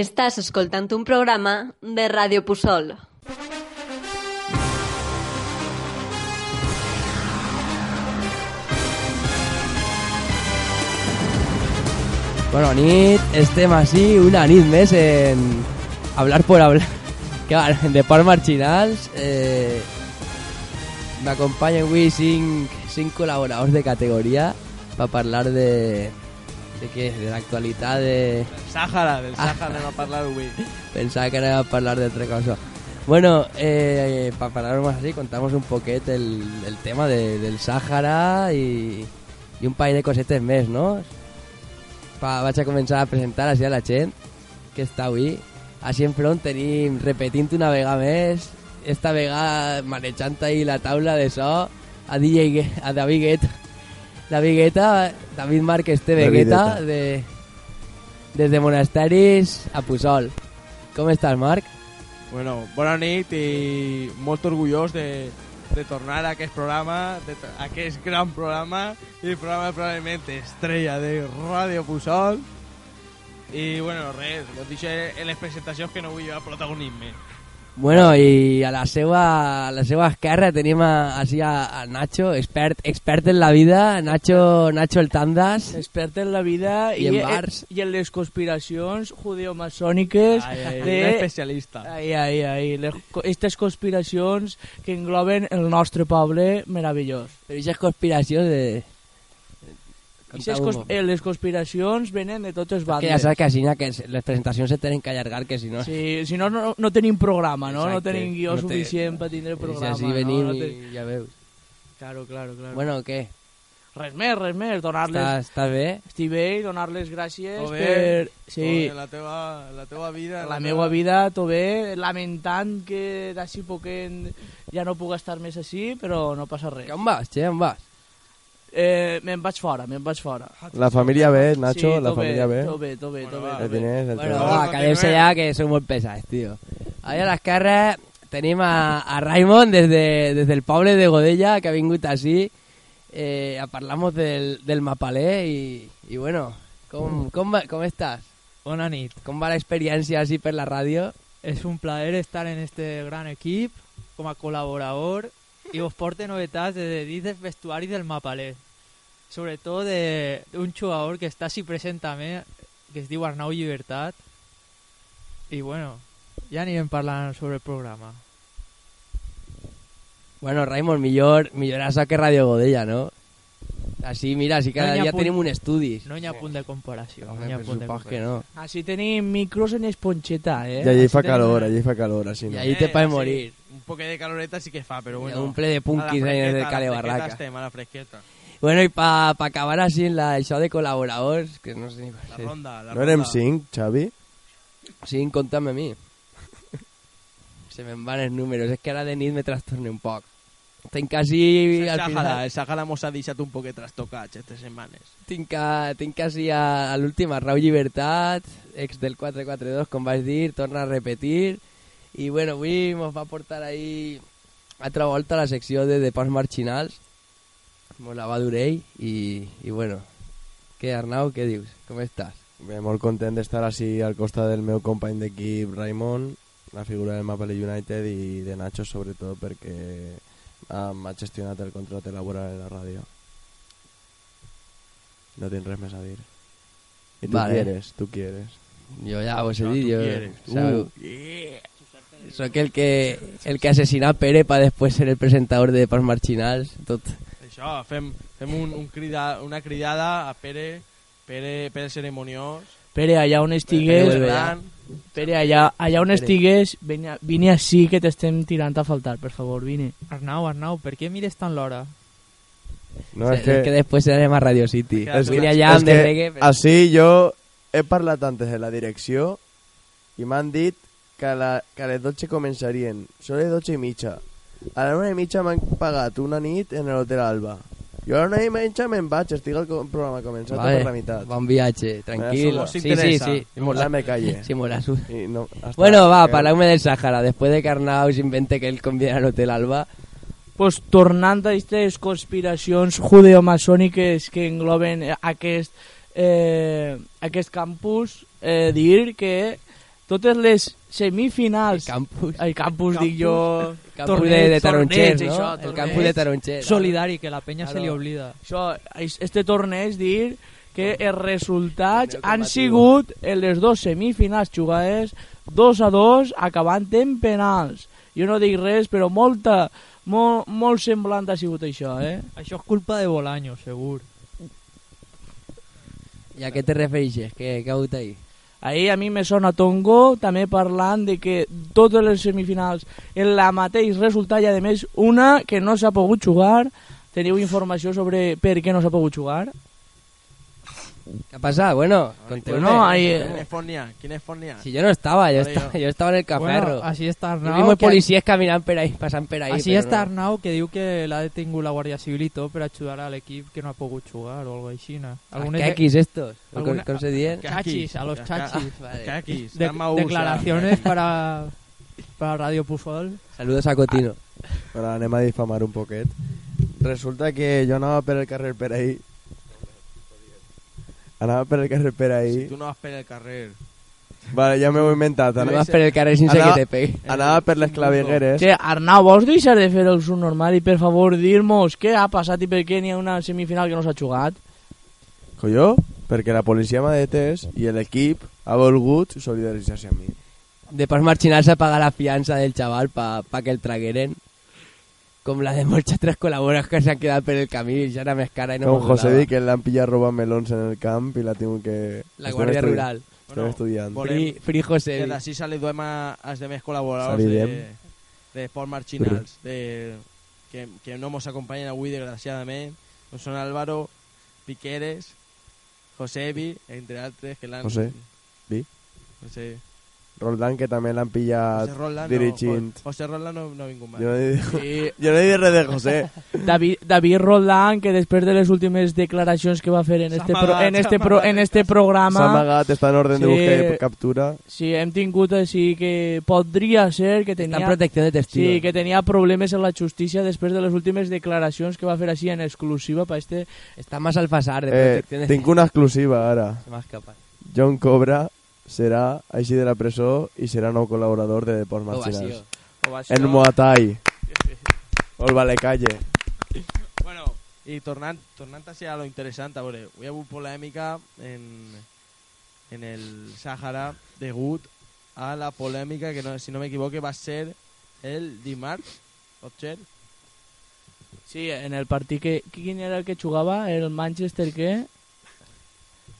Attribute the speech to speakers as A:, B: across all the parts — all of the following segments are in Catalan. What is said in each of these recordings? A: Estàs escoltant un programa de Ràdio Puçol.
B: Bona nit, estem així una nit més en Hablar por Hablar, que va, de Port Marginals. Eh, M'acompanyen avui cinc, cinc col·laboradors de categoria per parlar de... De què? De l'actualitat de...
C: Sàhara, del Sàhara anem a parlar avui.
B: Pensava que anàvem a parlar d'altra cosa. Bueno, eh, para hablar más así, contamos un poquet el, el tema de- del Sáhara y, y un país de cosetes més, no? Pa, vaig a començar a presentar així a la gent que està avui. Així enfront tenim, repetint una vegada més, esta vegada manejant ahí la taula de so, a DJ, Gue- a David Guetta. David Guetta, David Márquez TV
D: David
B: Guetta,
D: Guetta.
B: de, des de Monasteris a Pusol. Com estàs, Marc?
C: Bueno, bona nit i molt orgullós de, de tornar a aquest programa, de, to- a aquest gran programa, i el programa probablement estrella de Ràdio Pusol. I, bueno, res, ho deixo en les presentacions que no vull llevar protagonisme.
B: Bueno, i a la seva, a la seva esquerra tenim a, així a, a Nacho, expert, expert en la vida, Nacho, Nacho el Tandas.
E: Expert en la vida
B: I en bars.
E: i en les conspiracions judeomaçòniques
C: Ai, ai,
E: de...
C: un especialista.
E: Ai, ai, ai, les, co- estes conspiracions que engloben el nostre poble meravellós.
B: Però aquestes conspiracions de...
E: Ixes Cons eh, les conspiracions venen de totes
B: És que
E: bandes.
B: ja saps que així, que es- les presentacions se tenen que allargar, que si no...
E: Sí, si no, no, no tenim programa, no? No
B: Exacte.
E: tenim guió
B: No té-
E: suficient per tindre
B: I si
E: programa.
B: així venim
E: no? No
B: i
E: ten-
B: ja veus.
E: Claro, claro, claro.
B: Bueno, què?
E: Res més, res més, donar-les...
B: Estàs, estàs bé?
E: Estic bé i donar-les gràcies
C: Molt bé.
E: per... Sí,
C: Joder, La teva, la teva vida...
E: la meva vida tot bé, lamentant que d'ací poquet ja no puc estar més així, però no passa res.
B: Que on vas, Che? On vas?
E: Eh, me'n vaig fora, me'n vaig fora.
D: La familia B, Ah, Nacho,
E: sí,
D: la
E: tot
D: familia
E: bé,
D: B.
E: Tot bé, tot bé, tot
C: Bueno,
E: bé.
C: va.
D: La tienes, el
B: Bueno,
D: tema.
B: va, calem-se ja, que som molt pesats, tio. Allà a l'esquerra tenim a, a Raimon des, de, des del poble de Godella, que ha vingut així eh, a parlar-nos del, del Mapalé i, i bueno, com, com, va, com estàs?
F: Mm. Bona nit.
B: Com va l'experiència així per la ràdio?
F: És un plaer estar en este gran equip com a col·laborador i us porte novetats de dins vestuaris del Mapalé. Sobretot de- d'un jugador que està així present també, que es diu Arnau Llibertat. I bueno, ja anirem parlant sobre el programa.
B: Bueno, Raimon, millor, millor això que Ràdio Godella, no? Així, mira, així cada
F: No hi ha
B: dia
F: punt.
B: tenim un estudi.
F: No hi ha punt de comparació.
B: Home,
F: no hi ha
B: per
F: punt de
B: supòs que
F: comparació.
B: no.
E: Així tenim micros en esponxeta, eh?
D: Y allí
E: Així
D: fa
E: tenim-
D: calor, allí fa calor, así
B: I
D: no.
B: ahí te puedes
C: Eh, sí,
B: morir.
C: Un poquet de caloreta sí que fa, però
B: Hi
C: bueno...
B: ha un ple de punkis
C: a la
B: ahí en el
C: fresqueta, a la
B: Cale
C: fresqueta
B: Barraca.
C: Estem a la fresqueta.
B: Bueno, i pa, pa acabar així en la, això de col·laboradors, que no sé ni...
C: La ronda, la
D: No
C: ronda.
D: érem cinc, Xavi?
B: Sí, contame a mi. Se me'n van els números, és que ara de nit me trastorne un poc. Tinc quasi...
C: El
B: Al
C: Sàhara,
B: final,
C: el Sàhara eh? mos ha deixat un poquet trastocats aquestes setmanes.
B: tinc, a, tinc quasi a, a l'última Rau Llibertat, ex del 442, com vaig dir, torna a repetir. I bueno, avui mos va portar ahir altra volta a la secció de Deports Marginals. Mos la va dur ell i, i bueno... Què, Arnau, què dius? Com estàs?
D: Bé, molt content d'estar així al costat del meu company d'equip, Raimon, la figura del Maple United i de Nacho, sobretot, perquè ah, m'ha gestionat el contracte laboral en la ràdio. No tinc res més a dir. I tu
B: Vale.
D: quieres, tu quieres.
B: Jo ja ho he
C: No,
B: dit,
C: tu
B: jo...
C: quieres.
B: sabeu-
C: Yeah.
B: Soc el que, el que asesinà a Pere para después ser el presentador de Pas Marginals. Tot.
C: Això, fem, fem un, un crida, una cridada a Pere, Pere, Pere Ceremoniós,
E: Pere, allà on
C: Pere
E: estigués...
B: Pere,
C: Bertran,
E: Pere, allà, allà on estigués, vine, vine així que t'estem tirant a faltar, per favor, vine.
F: Arnau, Arnau, per què mires tant l'hora?
D: No,
B: és, que... después anem a Radio City.
C: Es que-
B: Vine allà
D: és
B: amb de
D: que
B: reggae. però-
D: Així jo he parlat antes de la direcció i m'han dit que, a la, que a les 12 començarien. Són les 12 i mitja. A la una i mitja m'han pagat una nit en l'hotel Alba. Jo a la una i mitja me'n vaig, estic al co- programa començat
B: Vale,
D: per la meitat.
B: Bon viatge, tranquil.
D: Mos
B: Sí, sí,
C: interessa.
B: sí.
D: I molt la me calle.
B: Sí, mola su-
D: I no, Eh, hasta
B: Bueno, va,
D: que-
B: parleu-me del Sàhara. Después de que Arnau s'invente que ell convida a l'Hotel Alba,
E: pues, tornant a aquestes conspiracions judeomaçòniques que engloben aquest, eh, aquest campus, eh, dir que totes les semifinals...
C: Pues,
B: El campus.
E: El campus, dic jo...
B: El campus de,
E: torneig,
B: de Taronxers,
E: torneig,
B: no?
E: això,
B: el
E: torneig.
B: campus de Taronxers.
F: Solidari, que la penya se
B: Claro.
F: li oblida.
E: Això, es- este torneig, dir que els resultats
B: Torneo
E: han
B: combatiu.
E: sigut en les dues semifinals jugades 2 a 2 acabant en penals. Jo no dic res, però molta, molt, molt semblant ha sigut això, eh?
F: Això és culpa de Bolaño, segur.
B: ¿Y a qué te referís? ¿Qué, qué hago ahí?
E: Ahir a mi me sona Tongo, també parlant de que totes les semifinals en la mateix resultat i a més una que no s'ha pogut jugar. Teniu informació sobre per què no s'ha pogut jugar?
B: ¿Qué ha pasado? Bueno, conté
E: Bueno,
B: usted.
E: ahí,
C: ¿Quién
E: eh,
C: es Fornia? ¿Quién es Fornia?
B: Si yo no estaba, yo
C: Ahora
B: estaba,
C: yo.
B: yo estaba en el caferro.
F: Bueno, així està
B: Y
F: Arnau.
B: vimos
F: que-
B: policías caminando por ahí, pasan por ahí.
F: així
B: pero
F: està
B: no.
F: Arnau, que diu que l'ha detingut la Guàrdia Civil i tot per ajudar a l'equip que no ha pogut jugar o alguna així.
B: Ah,
F: Algunes
B: ¿Qué X estos?
F: Alguna-
B: ¿Cómo se dieron?
F: Chachis, a los
C: Ca-
F: chachis, vale.
C: Caquis,
F: de-
C: Dama Ursa.
F: declaraciones para, para Radio Puzol.
B: Saludos a Cotino.
D: Però anem a difamar un poquet. Resulta que jo anava per el carrer per ahí. Anava per el carrer per
C: Si
D: ahí.
C: tú no vas por el carrer.
D: Vale, ja m'ho he inventat.
B: No
D: Anava,
B: vas por el carrer sin ser
D: Ahora-
B: que te pegue.
D: anava per les clavigueres.
E: Che, Arnau, vols deixar de fer el subnormal i per favor dir-nos què ha passat i per què n'hi ha una semifinal que no s'ha jugat?
D: Colló, perquè la policia m'ha detès i l'equip ha volgut solidaritzar-se amb mi.
B: De pas marchinarse a pagar la fianza del chaval para que el tragueren. Como la de muchas tres colaboras que se han quedado por el camino y ya era más cara y no
D: No, Con
B: me
D: José
B: acordaba.
D: Di, que l'han pillat robant melons en el camp i la tinc que...
B: La
D: estem
B: Guardia
D: estudi-
B: Rural.
D: Estem estudiant.
C: volem
B: Free, free José
C: Que
B: Di.
C: d'ací se li duem a, als demés col·laboradors de,
D: Salidem.
C: de Sport Marginals, de, que, que no mos acompanyen avui, desgraciadament. No són Álvaro, Piqueres, Josebi, entre altres que l'han...
D: José, Di.
C: José,
D: Roldán, que també l'han pillat
C: José Roldán,
D: dirigint.
C: No, pues, Jo- José Roldán no, no ha vingut mai.
D: Jo no he dit,
C: I
D: jo no he dit res de José.
E: David, Eh, David Roldán, que després de les últimes declaracions que va fer en
F: S'ha
E: este, pro,
F: amagat,
E: en este,
F: s'ha
E: pro,
F: amagat
E: en
F: el
E: este
D: S'ha
E: programa,
D: amagat, està en ordre de
E: Sí.
D: buscar captura.
E: sí, hem tingut així que podria ser que
B: Está en
E: tenia,
B: protección de testigos.
E: sí, que tenia problemes en la justícia després de les últimes declaracions que va fer així en exclusiva per este...
B: Está más al fasar de
D: Eh,
B: protección de
D: tinc una exclusiva ara.
B: Se m'ha escapat.
D: John Cobra serà així de la presó i serà nou col·laborador de Deports
B: Ovació.
D: Marginals. En Muay Thai. O el Valecalle.
C: Bueno, i tornant, tornant així a lo interessant, a veure, hi ha hagut polèmica en, en el Sàhara degut a la polèmica que, no, si no m'equivoque, va ser el dimarts, pot ser?
E: Sí, en el partit que... Quin era el que jugava? El Manchester què?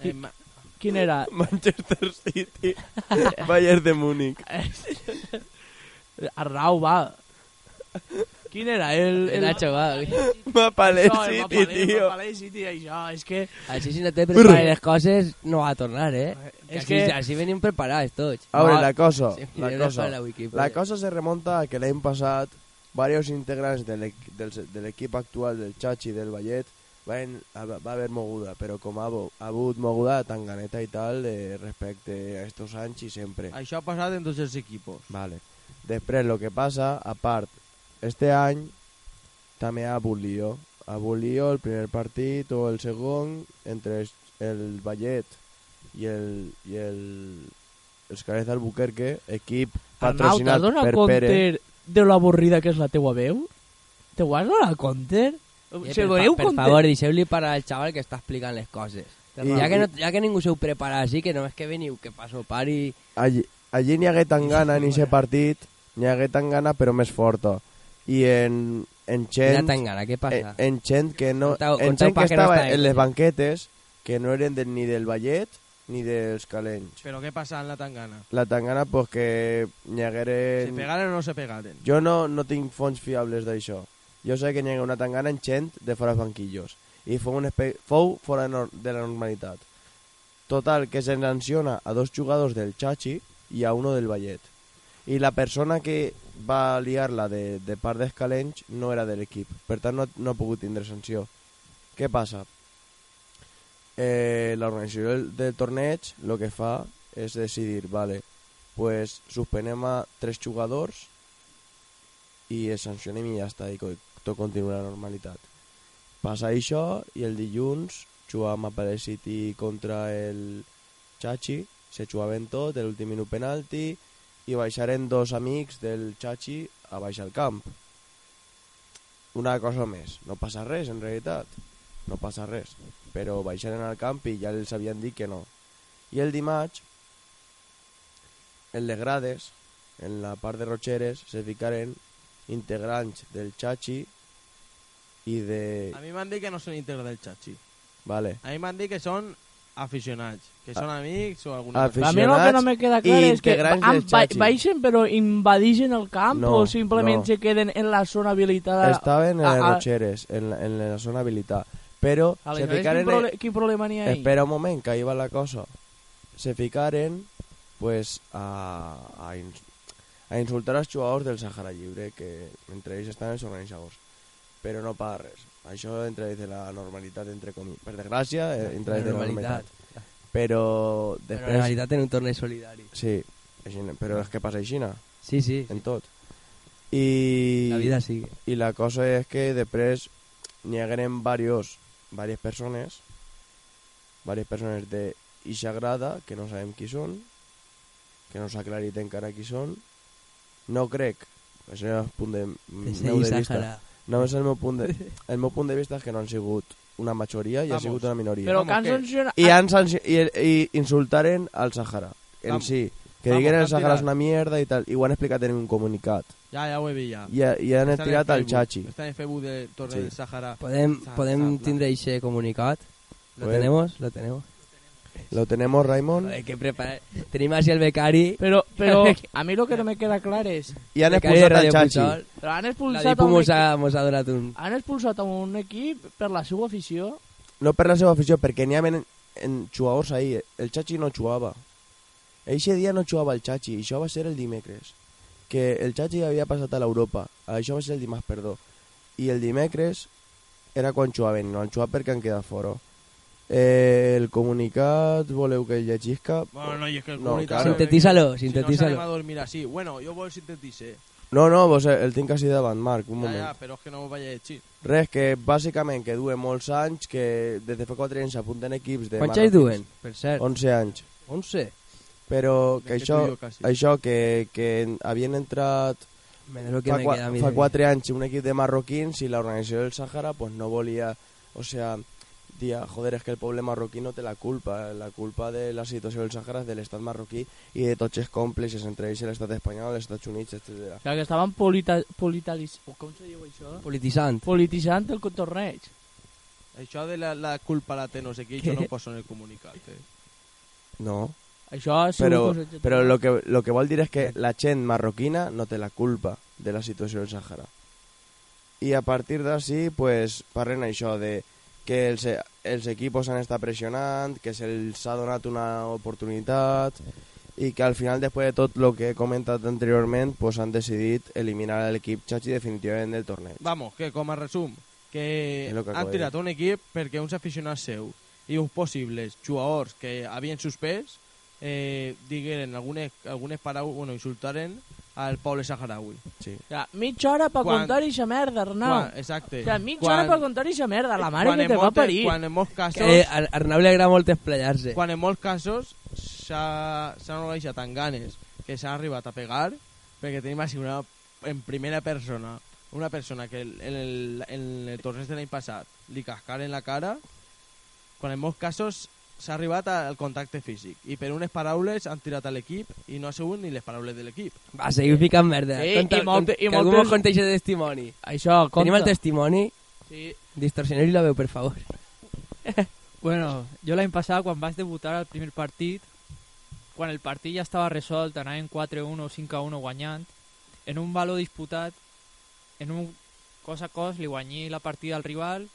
C: Eh, ma-
E: Quin era?
D: Manchester City. Bayern de Múnich.
E: Arnau, va. Quin era? El,
B: El
E: el...
B: Nacho, va.
D: Mapalé
E: Això, el
D: City,
E: Mapalé, el
D: tio.
E: Mapalé City, això, és que...
B: Així si no te prepares les coses no va a tornar, eh?
E: És
B: És
E: que-
B: que així, així venim preparats tots.
D: A veure, la cosa,
B: Sí,
D: la
B: mira,
D: cosa,
B: no fa la Wikipedia.
D: la cosa se remonta a que l'any passat varios integrants de l'equ- del- de l'equip actual del Chachi i del Vallet van, va haver moguda, però com ha, habu- ha hagut moguda a Tanganeta i tal eh, respecte a estos anys i sempre.
C: Això ha passat en tots els equipos.
D: Vale. Després, lo que passa, a part, este any també ha hagut lío. Ha hagut lío el primer partit o el segon entre es- el Vallet i el, i el els Carets d'Albuquerque, equip
E: Arnau, t'has
D: patrocinat
E: donat
D: per
E: compte
D: Pere.
E: de lo avorrida que és la teua veu? Te ho has donat compte?
B: Eh,
E: Se
B: per,
E: doneu
B: fa- per
E: compte?
B: favor, deixeu-li parar al xaval que està explicant les coses.
D: I-
B: ja, que no, ja que ningú s'ho prepara així, que només que veniu, que passo par i...
D: Allí, allí n'hi hagué tan gana en aquest partit, n'hi hagué tan gana però més forta. I en, en
B: Mira
D: gent...
B: tan gana, què passa?
D: Eh, en, en gent que no
B: Contau-
D: en
B: contau
D: gent
B: pa
D: que
B: que no
D: estava
B: està
D: en
B: ahí.
D: les banquetes que no eren de, ni del Vallet ni dels Calenys
C: Però què passa en la tangana?
D: la tangana pues que n'hi
C: Se
D: hagueren
C: pegaren o no se pegaren?
D: jo no, no tinc fonts fiables d'això jo sé que n'hi hagué una tangana en gent de fora dels banquillos i fou, un espe... fou fora de nor- de la normalitat total que se sanciona a dos jugadors del Chachi i a uno del Vallet i la persona que va liar-la de, de part dels Calenys no era de l'equip per tant no, no ha pogut tindre sanció què passa? Eh, L'organització del, del torneig el que fa és decidir, vale, pues suspenem a tres jugadors i es sancionem i ja està, i co- tot continua la normalitat. Passa això i el dilluns jugam a Palace City contra el Chachi se xugaven tot, de l'últim minut penalti, i baixaren dos amics del Chachi a baixar el camp. Una cosa més, no passa res, en realitat. No passa res. Però baixaren al camp i ja els havien dit que no. I el dimarts, en les grades, en la part de Rotxeres, se ficaren integrants del Chachi i de...
C: A mi m'han dit que no són íntegres del Chachi.
D: Vale.
C: A mi m'han dit que són aficionats, que són amics o alguna
D: Ah,
C: cosa.
E: A mi el que no me queda clar
D: i
E: és que
D: integrants
E: han,
D: del Chachi.
E: baixen però invadixen el camp
D: No,
E: o simplement
D: no.
E: se queden en la zona habilitada.
D: Estaven en
E: Ah,
D: les
E: ah.
D: Rotxeres, en la, en la zona habilitada. Però se
E: Aleshores, quin,
D: ficaren...
E: prole- quin problema n'hi ha ahí?
D: Espera un moment, que ahí va la cosa. Se ficaren, pues, a, a, ins- a insultar als jugadors del Sahara Lliure, que entre ells estan els organitzadors. Però no paga res. Això entra des de la normalitat, entre comillas. Per desgràcia, eh, entra des de la normalitat.
B: normalitat.
D: Però
B: Però
D: després...
B: en realitat en un torneig solidari.
D: Sí, així, però és que passa així, en
B: Sí, sí, sí.
D: tot. I...
B: la vida sigue.
D: I la cosa és que després n'hi hagueren varios, varias persones, varias persones de ixa grada, que no sabem qui són, que no s'ha aclarit encara qui són. No crec, això és el punt de, meu de vista.
B: Sahara.
D: Només el meu, punt de, el meu punt de vista és que no han sigut una majoria i ha
C: Vamos.
D: sigut una minoria.
E: Però
C: Vamos,
E: que han
C: que-
E: sancionat...
D: I, han sanci- i, i insultaren al Sahara, en
C: Vamos.
D: si. Que
C: Vamos,
D: diguen
C: que
D: el
C: han
D: Sahara és
C: tirat.
D: una mierda i tal. I ho han explicat en un comunicat.
C: Ja, ja ho he vist, ja.
D: I, i han
C: Estan en
D: tirat al
C: Facebook,
D: Chachi.
C: Estan en Facebook de Torre
D: Sí.
C: del Sahara.
B: Podem,
C: Sa- sa-
B: podem
C: la-
B: tindre ese comunicat. Lo
D: Podem.
B: tenemos, lo tenemos.
D: Lo tenemos, Raimon.
B: Hay que preparar. Tenim així el becari.
E: Però, però a mi el que no me queda clar és...
D: I han
B: becari de
D: expulsat el
B: Radio
D: Chachi.
B: Pujol.
E: Però han
B: La
E: expulsat,
B: Dipu
E: un
B: mos
E: equip,
B: ha, mos ha donat un...
E: han expulsat a un equip per la seva afició.
D: No per la seva afició, perquè n'hi havia en, en jugadors ahí. El Chachi no jugava. Eixe dia no jugava el Chachi, això va ser el dimecres. Que el Chachi havia passat a l'Europa, això va ser el dimarts, perdó. I el dimecres era quan jugaven, no han jugat perquè han quedat fora. Eh, el comunicat, voleu que el llegisca?
C: Bueno, no, i és que el
D: No,
C: comunitat...
D: claro.
B: Sintetízalo,
C: Si no anem
B: sintetízalo.
C: a dormir així. Bueno, jo vol sintetitzar.
D: No, no, vos, eh, el tinc quasi davant, Marc, un
C: Ja,
D: moment.
C: ja, però és que no ho vaig llegir.
D: Res, que bàsicament que duen molts anys, que des de fa 4 anys s'apunten equips de...
B: Quants
D: mano a
B: anys
D: pis.
B: duen? Per cert,
D: 11 anys.
B: 11.
D: Però
C: Més
D: que
C: que tu i
D: això,
C: jo, quasi.
D: això que, que havien entrat
B: Menos lo que
D: fa,
B: me
D: qua-
B: queda a mi
D: fa
B: de-
D: quatre anys un equip de marroquins i l'organització del Sahara pues, no volia... O sea, dia, joder, és que el poble marroquí no té la culpa. La culpa de la situació del Sahara és de l'estat marroquí i de tots els còmplices, entre ells l'estat espanyol, els Estats Units, etc.
E: Clar, que estaven polita, politalis... o Com se diu això?
B: Politizant.
E: Polititzant el torneig.
C: Això Eh, de la, la culpa la té no sé qui, jo no ho poso en el comunicat. Eh?
D: No,
E: Això ha sigut...
D: però,
E: cosa-
D: però lo, que, lo que vol dir és que la gent marroquina no té la culpa de la situació del Sahara. I a partir d'ací, pues, parlen això de que els, els equipos han estat pressionant, que se'ls ha donat una oportunitat i que al final, després de tot el que he comentat anteriorment, pues, han decidit eliminar l'equip Chachi definitivament del torneig.
C: Vamos, que com a resum, que
D: És lo que acabo
C: han
D: de
C: tirat un equip perquè uns aficionats seu i uns possibles jugadors que havien suspès eh, digueren algunes, algunes paraules, bueno, insultaren al poble saharaui.
D: Sí.
E: Ja, mitja hora per
C: Quan-
E: contar eixa merda, Arnau.
C: Quan- exacte.
E: O sea, mitja
C: Quan-
E: hora per contar eixa merda, la mare
C: quan
E: que
C: en
E: te va
C: moltes-
E: parir.
C: Quan en molts casos...
B: Eh, Ar- Arnau li agrada molt desplayar-se.
C: quan en molts casos s'ha- s'han organitzat tan ganes que s'ha arribat a pegar perquè tenim així una, en primera persona una persona que el- en el, en el torneig de l'any passat li cascar en la cara quan en molts casos s'ha arribat al contacte físic i per unes paraules han tirat a l'equip i no ha sigut ni les paraules de l'equip
B: Va, seguir ficant merda.
E: Eh,
B: Conta-
E: i molt-
B: conta-
E: i
B: que algú
E: moltes-
B: mos conta aquest testimoni.
E: Això, compte.
B: Tenim el testimoni.
E: Sí.
B: Distorsioneu-li la veu, per favor.
F: Bueno, jo l'any passat, quan vaig debutar al primer partit, quan el partit ja estava resolt, anàvem 4-1 o 5-1 guanyant, en un valor disputat, en un cos a cos, li guanyé la partida al rival,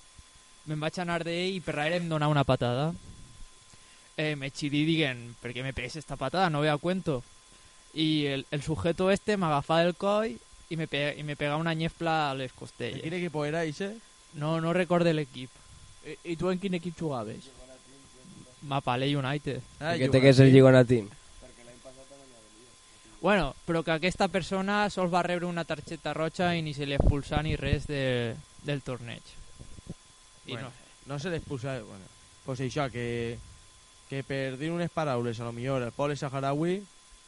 F: me'n vaig anar d'ell i per darrere em donà una patada. Eh, me xidí dient, per què me pegues esta patada? No ve a cuento. I el, el sujeto este m'agafà del coll i me, pe i me pegà una ñefla a les
C: de quin
F: costelles.
C: equip era ixe?
F: No, no recorde l'equip. Eh,
E: I, I tu en quin equip jugaves?
F: Mapale United.
C: Ah,
B: que
C: jo-
B: té que ser lligonatín.
F: Bueno, però que aquesta persona sols va rebre una targeta roja i ni se li expulsà ni res de, del torneig. I
C: Bueno.
F: no sé.
C: no se l'expulsa bueno, pues això que, que per dir unes paraules, a lo millor el poble saharaui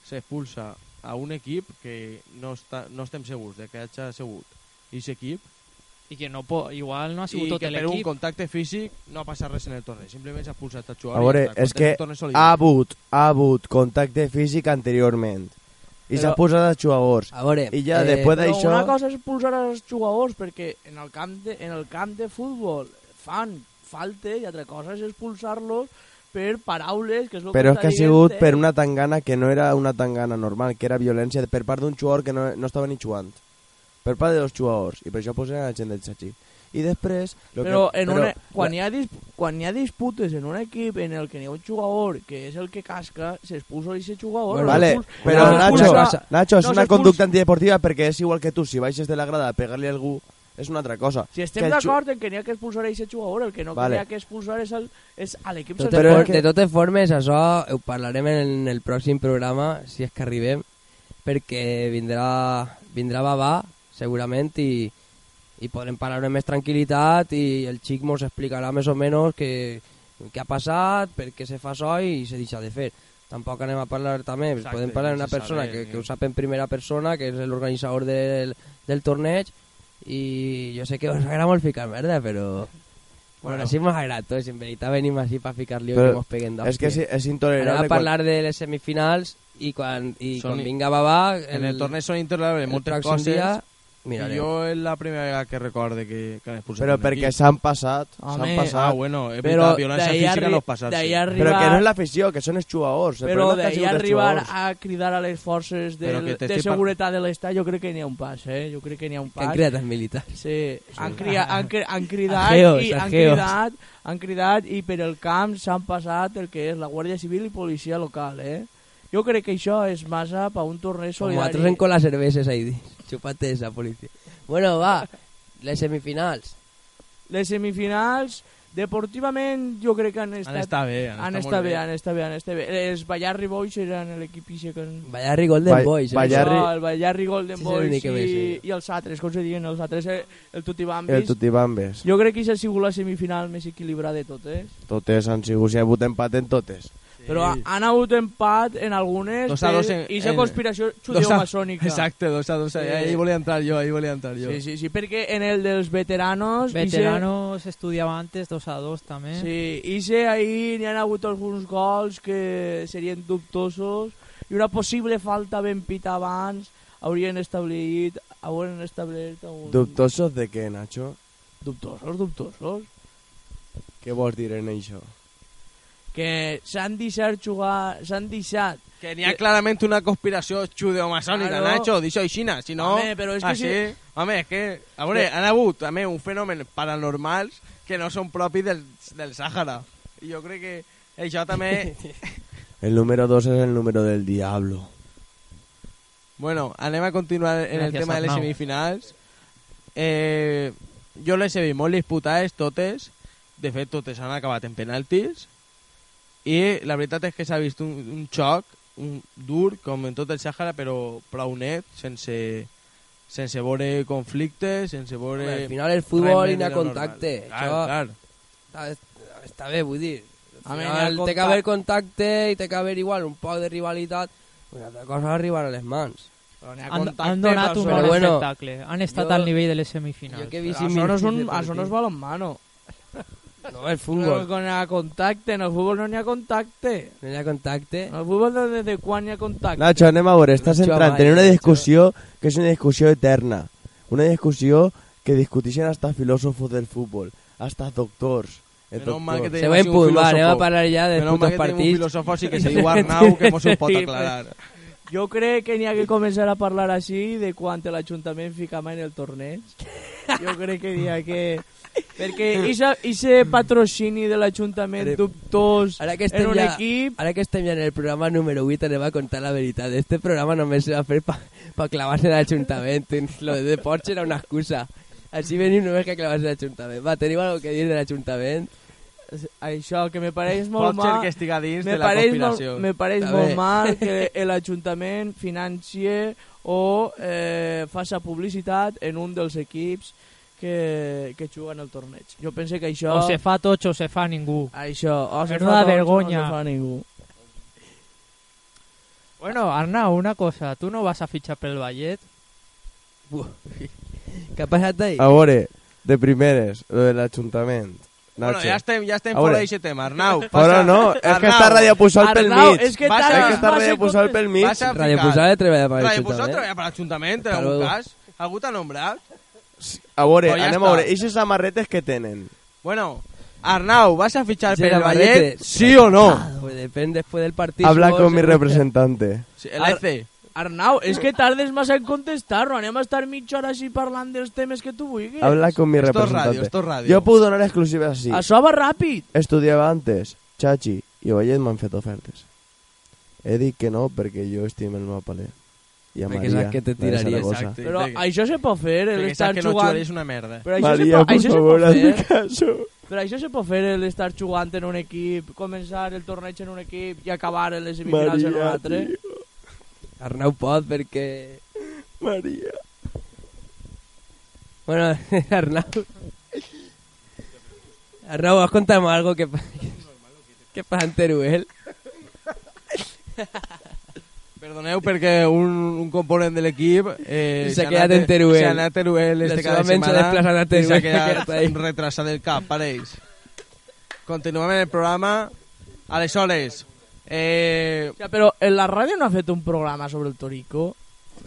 C: s'expulsa a un equip que no, està, no estem segurs de que hagi segut aquest equip
F: I que no po igual no ha sigut
C: i
F: tot
C: que per un
F: l'equip.
C: contacte físic no ha passat res en el torneig, simplement s'ha expulsat a jugar.
D: A veure, és que ha hagut, ha hagut contacte físic anteriorment i s'ha
E: Però-
D: posat a jugadors.
B: A veure,
D: I ja després
E: Però
D: d'això...
E: una cosa és expulsar els jugadors, perquè en el camp de, en el camp de futbol fan falte i altra cosa és expulsar-los per paraules, que és el
D: Però és
E: està
D: que ha
E: dient,
D: sigut
E: eh?
D: per una tangana que no era una tangana normal, que era violència per part d'un jugador que no, no estava ni jugant. Per part de dos jugadors. I per això posen la gent del Chachi. I després... lo
E: Però,
D: que,
E: en una, quan, hi ha dis, quan hi ha disputes en un equip en el que n'hi ha un jugador que és el que casca, s'expulsa ese jugador.
B: Bueno,
E: no
D: Vale,
E: l'expulsa.
D: però
E: No
D: Nacho,
E: l'expulsa.
B: expulsa.
D: Nacho, és
E: No
D: una
E: s'expulsa.
D: conducta antideportiva perquè és igual que tu, si baixes de la grada a pegar-li a algú, és una altra cosa.
E: Si
D: Que
E: estem
D: el ju-
E: d'acord en que n'hi ha que expulsar a ese jugador, el que no
D: Vale.
E: que n'hi ha que expulsar és, el, és a l'equip
B: De
E: sencer.
D: Però
B: totes, for-
D: és que-
B: de totes formes, això ho parlarem en el pròxim programa, si és que arribem, perquè vindrà, vindrà Babà, segurament, i, i podrem parlar amb més tranquil·litat i el xic mos explicarà més o menys què, què ha passat, per què se fa això i se deixa de fer. Tampoc anem a parlar també,
C: Exacte,
B: podem parlar
C: no
B: d'una
C: se
B: persona
C: sabe,
B: que, que
C: ni-
B: ho sap en primera persona, que és l'organitzador del, del torneig, i jo sé que us agrada molt ficar merda, però... Bueno,
C: Bueno.
B: així m'ha agradat, tots. en veritat venim així per ficar lío
D: Però
B: que mos peguen
D: És que és, és
B: Anem
D: intolerable.
B: a parlar de les semifinals i quan, i
C: Són-
B: quan vinga Babà...
C: En el torneig són intolerables
B: el
C: moltes
B: pròxim
C: coses.
B: dia
C: I
B: mirarem.
C: jo és la primera vegada que recorde que, que han
D: quan-
C: expulsat
D: Però
C: un
D: perquè
C: equip.
D: s'han passat,
E: Home,
D: s'han passat.
C: Ah, bueno, és
E: Però
C: veritat, violència
E: d'ahir
C: física
E: arri-
C: no passar-se.
E: d'ahir arri-
D: Però que
E: arribar-
D: no és l'afició, que són els jugadors. El
E: Però
D: problema és que ha
E: d'ahir
D: sigut els
E: arribar
D: jugadors.
E: a cridar a les forces
C: Però
E: del,
C: que
E: de
C: t'estic par-
E: seguretat de l'estat, jo crec que n'hi ha un pas, eh? Jo crec que n'hi ha un
B: Que han
E: pas.
B: creat els militars.
E: Sí, han, cria, han, cri, han cridat
B: Ajeos,
E: i han
B: ajeos.
E: cridat, han cridat i per el camp s'han passat el que és la Guàrdia Civil i policia local, eh? Jo crec que això és massa per un torneig
B: Com
E: solidari.
B: nosaltres en cola cerveses ahí. dins. Xupate esa, policia. Bueno, va, les semifinals.
E: Les semifinals, deportivament, jo crec que han
C: Han
E: estat...
C: estat bé,
E: Han estat bé, han estat bé, han estat bé. Els Ballarri Boys eren l'equip ixe que...
B: Vaya rigol del
D: Ba-
B: Boys. eh?
D: Ballar- Ballarri-
E: No, el Ballarri Golden
B: Sí, sí,
E: Boys
B: ni que bé,
E: i,
B: sí.
E: i els altres, com se diuen els altres, eh, el Tutibambis.
D: El Tutibambes.
E: Jo crec que això ha sigut la semifinal més equilibrada de totes.
D: Totes han sigut, si ha hagut empat en totes.
E: Però ha- han hagut empat en algunes
C: Dos a dos
E: per-
C: en-
E: i esa
C: en-
E: conspiració
C: Dos a-
E: judeo-masónica.
C: Exacte, dos a dos.
E: Sí.
C: Ahí volia entrar jo, ahí volia entrar jo.
E: Sí, sí, sí, perquè en el dels veteranos...
F: Veteranos estudiaba antes, 2 a 2 también.
C: eh.
E: Ixe, sí, ixe ahir n'hi han hagut alguns gols que serien dubtosos i una possible falta ben pita abans haurien establit haurien establert un...
D: Dubtosos de què, Nacho?
E: dubtosos, dubtosos
D: Què vols dir en això?
E: que s'han deixat jugar s'han deixat
C: Que n'hi ha clarament una conspiració judeomasònica,
E: Claro.
C: Nacho, d'això i Xina, si no... ¿Ah,
E: Home, però és que
C: així...
E: si-
C: Home, és que... A veure, han hagut també un fenomen paranormals que no són propis del, del Sàhara. I jo crec que això també...
D: El número 2 és el número del diablo.
C: bueno, anem a continuar en el
F: Gràcies,
C: tema de les
F: Arnau.
C: semifinals. Eh, jo les he vist molt disputades totes. De fet, totes han acabat en penaltis. I la veritat és que s'ha vist un, un xoc un, dur, com en tot el Sàhara, però prou net, sense, sense veure conflictes, sense veure...
B: Home, al final el
C: res
B: futbol
C: més
B: i n'hi ha
C: de normal.
B: contacte.
C: Clar,
B: Això
C: clar.
B: Està, està bé, vull dir. Al
E: Home, n'hi ha
B: final té que
E: contac-
B: haver contacte i té que haver igual un poc de rivalitat. Una altra cosa és arribar a les mans.
E: però n'hi ha
F: han,
E: contacte,
F: han
E: però
F: donat un
E: això-
F: bon
B: Però bueno,
F: espectacle. Han estat
B: jo-
F: al nivell de les
B: Jo
F: semifinals.
B: que he
E: Però
B: vist
E: això no és, un,
B: mil-
E: això no és balonmano.
B: No, el
E: Però
B: futbol.
E: quan hi ha contacte, en el futbol no n'hi ha contacte.
B: No hi ha contacte.
E: En el futbol de- des de quan hi ha contacte.
D: Nacho, anem a veure, estàs
B: Nacho
D: entrant en
B: Amaya,
D: una
B: Nacho.
D: discussió que és una discussió eterna. Una discussió que discutixen hasta filòsofos del futbol, hasta doctors. El
C: Menos mal que
D: doctor.
B: Se va a
C: Ha sido un
B: impulsar, anem a
C: filósofo.
B: parlar ja dels
C: Menos mal
B: putos
C: que tenim un
B: partits.
C: filòsof així que se diu Arnau, que mos ho pot aclarar.
E: Jo crec que n'hi ha que començar a parlar així de quan l'Ajuntament fica mà en el torneig. Jo crec que n'hi ha que... Perquè aquest patrocini de l'Ajuntament
B: Ara-
E: dubtós
B: Ara que
E: en
B: estem
E: un
B: ja,
E: equip...
B: ara que estem ja en el programa número 8 anem a contar la veritat. Este programa només se va fer per pa clavar-se a l'Ajuntament. Lo de Porsche era una excusa. Així venim només que clavar-se a l'Ajuntament. Va, teniu alguna cosa que dir de l'Ajuntament?
E: Això, que me pareix molt
C: Pot ser
E: mal...
C: que estiga dins
E: me
C: de la
E: pareix, molt,
C: conspiració.
E: me pareix
B: A
E: molt
B: ver.
E: mal que l'Ajuntament financie o eh, faça publicitat en un dels equips que, que juguen el torneig. Jo pense que això...
F: O se fa tots o se fa ningú.
E: Això, o se
F: Menuda
E: fa tots,
F: vergonya.
E: No se fa ningú.
F: Bueno, Arnau, una cosa. Tu no vas a fitxar pel Vallet?
B: Què ha passat ahí?
D: A veure, de primeres, lo del ajuntament.
C: Bueno,
D: Nacho.
C: ja estem, ja estem
D: A veure.
C: fora d'aquest tema, Arnau.
D: Però
C: passa.
D: no, és que
C: Arnau,
D: està Radio Pusol pel
E: Arnau,
D: mig.
E: és que
C: Vas
E: t'has-
C: a-
D: És que està
E: vas a
D: Radio Pusol pel mig.
C: Vas a
B: Radio
C: ficar.
B: Posada treballa per
C: Radio
D: eh?
C: Pusol
B: l'Ajuntament.
C: treballa per l'Ajuntament, en
B: Hasta
C: algun
B: luego.
C: cas. Algú t'ha nombrat?
D: A veure,
C: Pues ja
D: anem
C: està.
D: a veure, eixes samarretes que tenen.
C: Bueno, Arnau, ¿vas a fichar
B: Sí,
C: pel
B: Navarrete.
C: Vallet? ¿Sí o no?
B: Pues depende después del partido.
D: Habla con mi
B: se-
D: representante.
C: Sí, El
E: Ar-
C: EC.
E: Arnau, és que tardes massa en contestar-ho. Anem a estar mitja hora així parlant dels temes que tu vulguis.
D: Habla con mi
C: Esto es
D: representante.
C: radio, esto es radio.
D: Yo puedo donar exclusivas así.
E: Això va ràpid.
D: Estudiaba antes, Chachi, i Vallet m'han fet ofertes. He dit que no perquè jo estim el Mapalé. I a
B: Perquè
D: Maria,
B: saps que te
D: la de
B: tiraries.
D: Saragossa.
C: Exacte.
E: Però
C: Venga.
E: això se pot fer, el
C: Perquè
E: estar
C: saps que no
E: jugant...
C: jugaréis una merda.
E: Però això, se,
D: Maria,
E: pot,
D: por
E: això se
D: favor,
E: pot
D: hazme
E: fer,
D: caso.
E: però això se pot fer el estar jugant en un equip, començar el torneig en un equip i acabar en les semifinals en un
D: Maria,
E: altre.
D: tio,
B: Arnau Pod, porque...
D: Maria.
B: Bueno, Arnau... Arnau, ¿vas a contarme algo que, pa- que pasa en Teruel?
C: Perdoneu perquè un, un component de l'equip eh,
B: S'ha
C: s'ha
B: quedat
C: anat-
B: en Teruel.
C: S'ha anat a Teruel
B: La
C: este
B: seva
C: cada
B: ment s'ha
C: setmana
B: desplaçat a
C: i s'ha
B: Teruel,
C: quedat
B: aquest any.
C: retrasat el cap, pareix. Continuem en el programa. Aleshores, eh,
E: Ja, però en la ràdio no ha fet un programa sobre el Torico.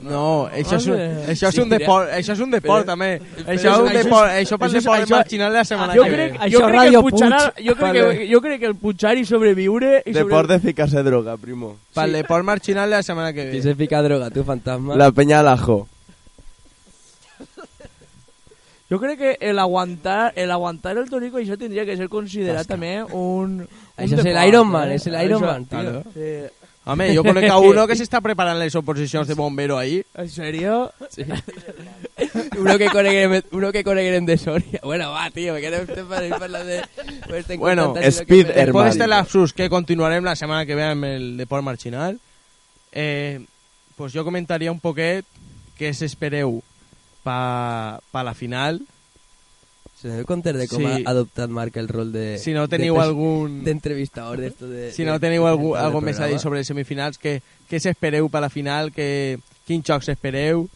C: no, això és, un,
E: Home.
C: això és un
B: Sí,
C: deport, això és un deport, també. Això és un
E: això és-
C: deport, això pel
E: això és-
C: deport
E: això-
C: al final de la setmana
E: Jo
C: que
E: crec,
C: ve.
E: jo
F: Això
E: crec que
F: Radio
E: el Puigdemont-
F: Puig.
E: jo crec que,
F: Vale.
E: jo crec que el Puigdemont i sobreviure... I
D: Deport
E: sobre...
D: de ficarse droga, primo.
C: Pel deport marginal de la setmana que
B: Que
C: ve.
B: se pica droga, tú, fantasma.
D: La peña al ajo.
E: Jo crec que el aguantar el, aguantar el Torico això tindria que ser considerat també un... un
B: Això és el
E: deport,
B: Iron Man,
E: eh?
B: és el Iron
E: Això- Eh,
B: Man, tio.
C: Claro.
E: Sí.
C: Home, jo conec a uno que s'està preparant les oposicions de bombero ahí.
E: ¿En serio?
B: Uno que coneguen, uno que coneguen de Soria. Bueno, va, tío, me quedo usted para ir para la de... Pues te
C: Bueno,
B: encantas, sino
D: Speed
B: que me-
D: Hermano.
C: Después de este lapsus que continuarem la setmana que ve amb el Deport Marginal, eh, pues jo comentaria un poquet què s'espereu pa, pa la final.
B: Se debe contar de cómo
C: Sí.
B: ha adoptado Marca el rol de...
C: Si no
B: de
C: teniu
B: pres-
C: algun...
B: De entrevistador de esto de...
C: Si
B: de-
C: no teniu algú,
B: de-
C: algo
B: del
C: més a dir
B: programa.
C: sobre les semifinals, què, què s'espereu per la final, que, quin xocs espereu...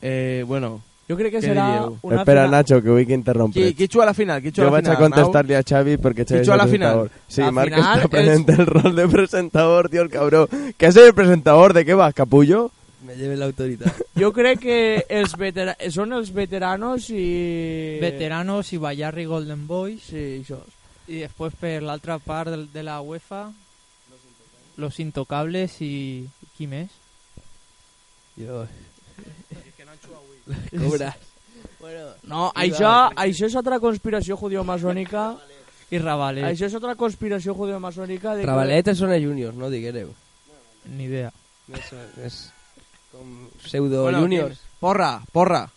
C: Eh, bueno,
E: Yo creo que
C: Què
E: será
C: diríeu?
E: una
D: Espera,
E: final-
D: Nacho, que vull que
C: qui,
D: interrompre.
C: qui juga a la final? Qui juga
D: Jo
C: a la
D: vaig a
C: final,
D: contestar-li a Xavi perquè Xavi és
C: Pitjor a
D: el
C: la
D: presentador.
C: final.
D: Sí,
E: La
D: Marc
E: final
D: està
E: és-
D: prenent el rol de presentador, tio, el cabró. Que és el presentador? ¿De qué vas, capullo?
B: Me lleve la autoridad.
E: Yo creo que els vetera- son los veteranos y...
F: Veteranos i Ballarri Golden Boys.
E: Sí, això.
F: I després per l'altra part del- de la UEFA... Los Intocables i... Qui més?
B: Dios. Las cobras. Bueno,
E: No,
B: I
E: això, això és otra conspiració judeo-masònica.
F: I Rabalet.
E: Això és otra conspiració judeo-masònica. de que-
B: Trabalete son el Juniors, no diguereu.
F: Ni idea.
B: Eso es con pseudo
C: Bueno,
B: Juniors.
C: Porra, porra.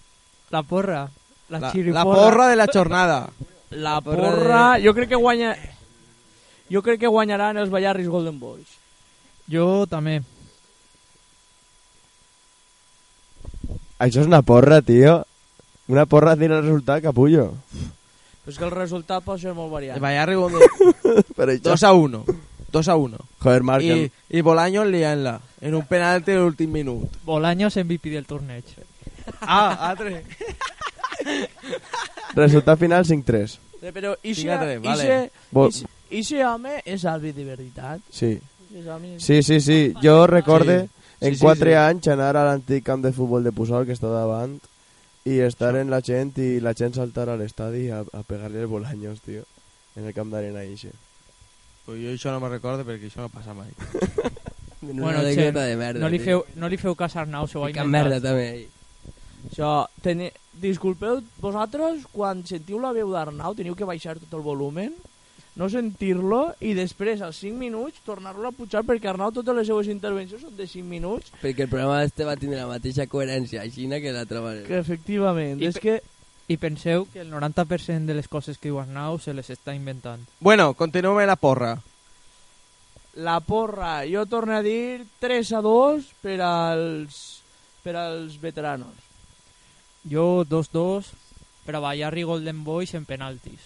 F: La porra. La,
C: La,
F: chiriporra.
C: la porra de la jornada.
E: La
B: porra
E: porra... Jo crec que guanya... Jo crec que guanyaran els Ballarris Golden Boys.
F: Jo també.
D: Això és Ah, una porra, tio. Una porra tiene el resultat, capullo.
E: Però és que el resultat pot ser molt variant.
C: El Vallarri Gondo.
D: Però això...
C: 2 a 1. 2 a 1.
D: Joder, Marc,
C: Y,
D: el-
C: y Bolaños liant-la en un penalti de l'últim minut.
F: Bolaños MVP del torneig.
C: Ah, altre.
D: resultat final 5-3.
E: Eh, Però ixe,
C: Fíjate,
E: ixe,
C: vale.
D: Bo-
E: ixe, ixe home és àrbit de veritat.
D: Sí.
E: Ixe home és-
D: Sí, sí, sí. Jo recorde
C: Sí.
D: en
C: Sí, sí,
D: 4
C: sí.
D: anys anar a l'antic camp de futbol de Pusol, que està davant, i estar en la gent i la gent saltar a l'estadi a, a pegar-li els bolanyos, tio. En el camp d'arena ixe.
C: Pues jo això no me recorde perquè això no passa mai.
B: bueno,
F: che,
B: anécdota de merda.
F: no, li
B: tio.
F: feu, no li feu cas a Arnau, s'ho va
B: Pica
F: inventar.
B: merda també.
E: Això, teni... disculpeu, vosaltres, quan sentiu la veu d'Arnau, teniu que baixar tot el volumen, no sentir-lo, i després, als 5 minuts, tornar-lo a pujar, perquè Arnau, totes les seues intervencions són de 5 minuts,
B: Perquè el programa este va tindre la mateixa coherència aixina que l'altra manera.
E: que efectivament,
F: I
E: és
F: pe-
E: que...
F: I penseu que el 90% de les coses que diu Arnau se les està inventant.
C: Bueno, continuem la porra.
E: La porra, jo torno a dir 3 a 2 per als, per als veteranos.
F: Jo 2-2 per a ballar-hi Golden Boys en penaltis.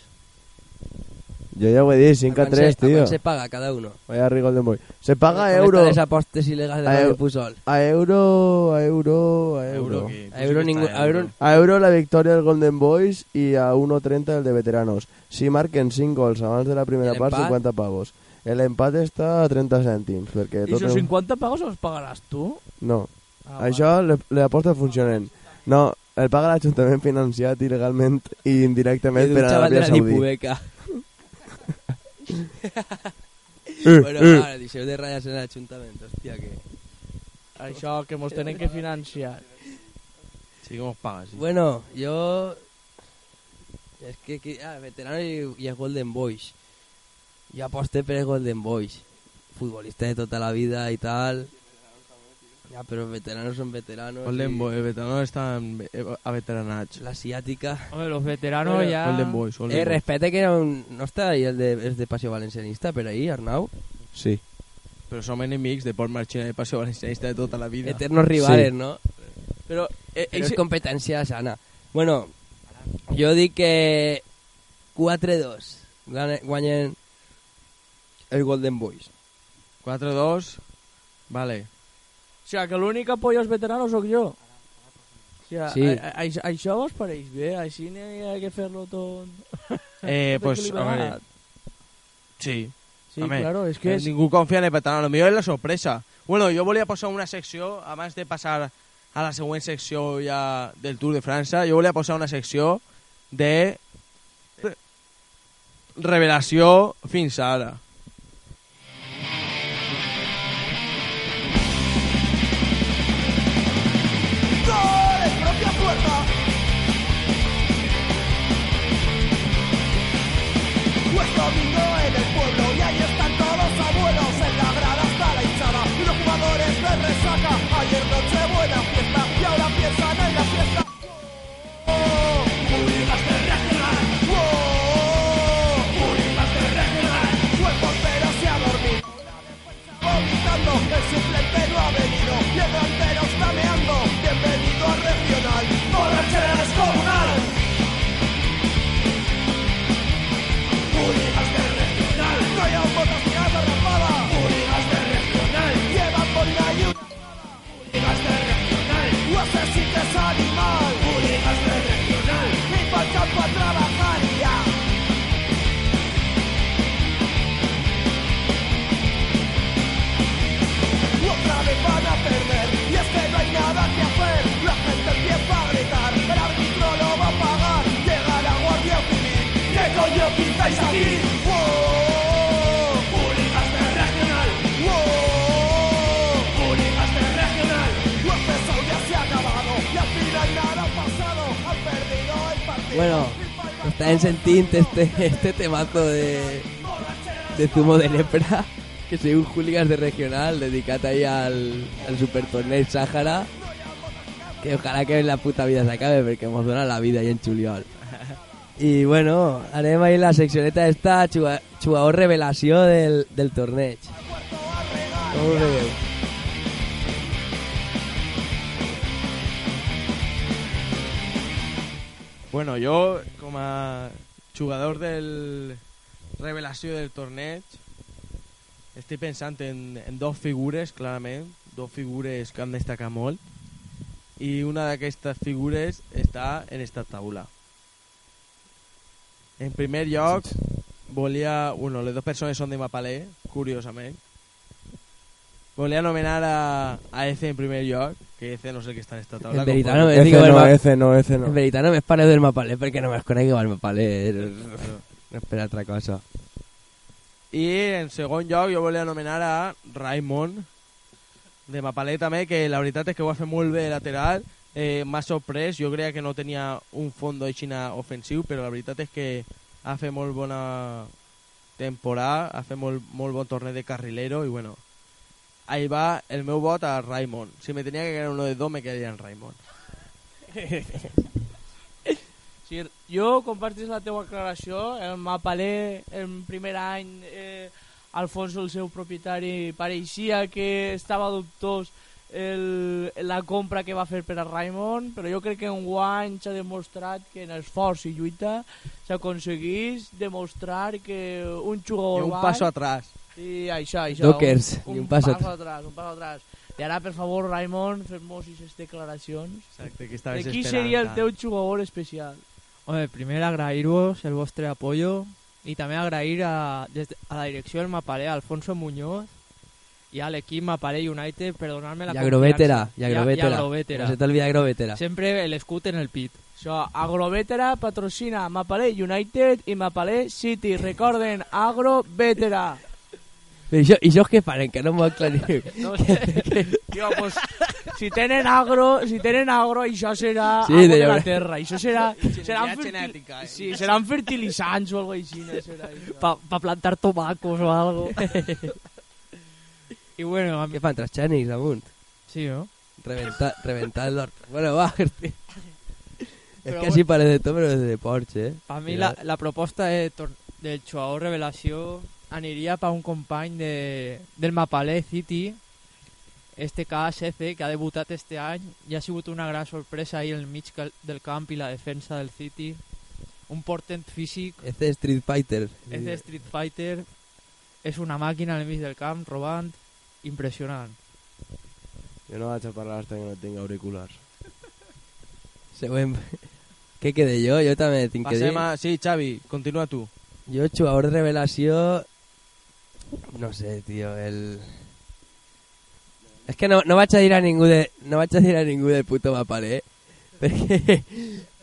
D: Yo ya voy a
B: ¿A
D: decir 5 a
B: cuán
D: 3,
B: se, a cuán
D: tío.
B: se paga cada uno?
D: Vaya Golden Boy. Se paga
B: Con
D: euro.
B: Estas apostas ilegales de
D: A
B: Radio
D: eu-
B: Pusol.
D: A euro, a euro, a euro.
C: que- tú
B: A
C: sí
B: euro
D: pues,
C: que
B: ningún-
C: estás,
B: a euro-
D: A euro la victòria del Golden Boys i a 1.30 el de veteranos. Si marquen 5 gols abans de la primera
B: I
D: part,
B: l'empat?
D: 50 pavos. El empat està a 30 cèntims, perquè
E: I
D: tot...
E: els
D: el-
E: 50 pagos els pagaràs tu?
D: No,
E: Ah,
D: ah, això le- les apostes funcionen. No, el paga l'Ajuntament financiat il·legalment i indirectament
B: Y de
D: per
B: un
D: a
B: chaval de
D: l'Aràbia
B: la
D: Saudí.
B: Dipubeca.
D: Eh,
B: bueno,
D: eh.
B: ahora, diseño de rayas en el ayuntamiento, hostia, que...
E: va. Això que mos tenen que financiar.
C: Sí, como pagas. sí.
B: Bueno, yo... Es que, que- ah, veterano y, y es Golden Boys. Yo aposté pero es Golden Boys. Futbolista de toda la vida y tal. Ya, pero veteranos son veteranos.
C: Golden
B: y
C: Boy, veteranos están eh, a veteranach.
B: La asiática.
F: Hombre, los veteranos
B: Bueno,
F: ya...
C: Golden Boys, Golden
B: Eh,
C: Boys.
B: respete que era un- no está ahí el de, es de Paseo Valencianista, pero ahí, Arnau.
D: Sí.
C: Pero son enemics de Paul Marchena y Paseo Valencianista de toda la vida.
B: Eternos rivales, ¿no?
E: Però, eh,
B: Pero
E: eixe-
B: es competencia sana. Bueno, yo di que 4-2 gane- guañen el Golden Boys.
C: 4-2. Vale.
E: o sigui, que l'únic apoio als veteranos sóc jo. O sigui,
B: Sí.
E: sí. a, a, això- això vos pareix bé? Així n'hi ha que fer-lo tot...
C: Eh,
E: tot
C: pues, a
E: equilibrat.
C: ver. Sí.
E: Sí,
C: Home, eh,
E: claro, és que
C: Que
E: és...
C: ningú confia en el veterano. Lo millor és la sorpresa. Bueno, jo volia posar una secció, abans de passar a la següent secció ja del Tour de França, jo volia posar una secció de re- revelació fins ara.
G: Pues domingo en el pueblo y ahí están todos abuelos en la grada está la hinchada y los jugadores de resaca. Ayer noche buena fiesta y ahora piensan en la fiesta. ¡Oh! ¡Públicas de regional! ¡Oh! ¡Públicas de regional! Fue portero se ha dormido. La defensa Vomitando, el suplente no ha venido y el delantero está meando. Bienvenido a regional. ¡Borrachera descomunal! Públicas de regional. No hay botas ni agua rapada. Públicas de regional. Llevan por la ayuda. Públicas de regional. No sé si te es animal. Públicas de regional. Y para campo a trabajar ya. Otra vez van a perder. Y es que no hay nada que hacer. La gente empieza a gritar. El árbitro lo va a pagar. Llega la guardia civil. ¿Qué coño pintáis aquí? ¡Wow! Públicas de regional. ¡Wow! Públicas de regional. No ha empezado, ya se ha acabado. Y al final nada ha pasado. Han perdido el partido.
B: Bueno, está en sentinte este, este temazo de, de zumo de lepra, que soy un hooligan de regional, dedicado ahí al, al super torneo Sáhara, que ojalá que la puta vida se acabe, porque hemos donado la vida ahí en Chuliol. Y bueno, haremos ahí la seccioneta esta, chua- chugador revelación del, del torneo. ¿Cómo lo veu?
C: Bueno, jo, com a jugador del revelació del torneig, estic pensant en, en dos figures, clarament, dos figures que han destacat molt, i una d'aquestes figures està en esta taula. En primer lloc, volia... Bueno, les dues persones són de Mapalé, curiosament. Volia anomenar a, a Eze en primer lloc, que Eze no sé el que està en esta taula.
B: En
C: com
B: veritat,
C: podeu-
B: no me
D: F
B: digo el
D: no,
B: ma-
D: F no, F
B: En
D: no.
B: veritat no me pareu del Mapalé perquè no me conec igual Mapalé. Espera, altra cosa.
C: I en segon lloc jo volia anomenar a Raimon de Mapalé també, que la veritat és que ho va fer molt bé de lateral, eh, m'ha sorprès, jo creia que no tenia un fons d'Oixina ofensiu, però la veritat és que ha fet molt bona temporada, ha fet molt, molt bon torneig de carrilero i bueno, ahí va el meu vot a Raimon. Si me tenia que quedar uno de dos, me quedaria en Raimon.
E: Sí, jo compartís la teua aclaració. El Mapalé, en primer any, eh, Alfonso, el seu propietari, pareixia que estava dubtós el, la compra que va fer per a Raimon, però jo crec que en guany s'ha demostrat que en esforç i lluita s'aconseguís demostrar que un
C: Y
E: jugador
C: un
E: baix-
C: paso atrás.
E: Sí, això, això.
B: Dockers, i un pas
E: paso atrás, un paso atrás. I ara, per favor, Raimon, fes-nos aquestes declaracions.
C: Exacte, que
E: De qui seria el teu jugador especial?
F: Hombre, primero agraïros el vostre apoyo y también agrair a, des- a la dirección del Mapalé, a Alfonso Muñoz y al equipo Mapalé United, perdonarme la
B: Y Agrovetera,
F: confiança.
B: y Agrovetera.
F: I Agrovetera.
B: No se te olvida Agrovetera.
F: Siempre el escut en el pit.
E: Això, Agrovetera patrocina Mapalé United i Mapalé City. Recorden, Agrovetera.
B: Pero y yo, y yo que paren, que no me aclaré.
F: No sé.
E: Tio, pues, si tenen agro, si tenen agro, això serà
B: Sí,
E: sí, agua
B: de
E: de la
B: llaurar.
E: terra. Això serà... Seran,
C: genètica, eh?
E: sí, seran fertilitzants o alguna cosa així. Serà, això.
F: Para plantar tomacos o algo. y bueno, a mí-
B: ¿Qué fan tras Chanix aún?
F: sí, ¿no?
B: Reventar, reventar el orto. Bueno, va, Gerti. Es
F: Pero
B: que así parece todo, pero desde Porsche, ¿eh?
F: A mi
B: Mira,
F: la, la proposta de tor del jugador revelació aniria per un company de, del Mapalé City, este cas EC, que ha debutat este any i ha sigut una gran sorpresa ahir al mig cal- del camp i la defensa del City. Un portent físic,
B: Este Street Fighter.
F: és de Street Fighter, és una màquina al mig del camp, robant, impressionant.
D: Yo no vaig a parlar hasta que no tenga auriculars.
B: Se buen- ¿Qué quedé yo? Yo también tengo que
C: Passem a... Sí, Xavi, continua tu.
B: Yo, jugador revelación. No sé, tío, el. Es que no, no vaig a dir a ningú de, no vaig a dir a ningú del puto mapalé, eh? Porque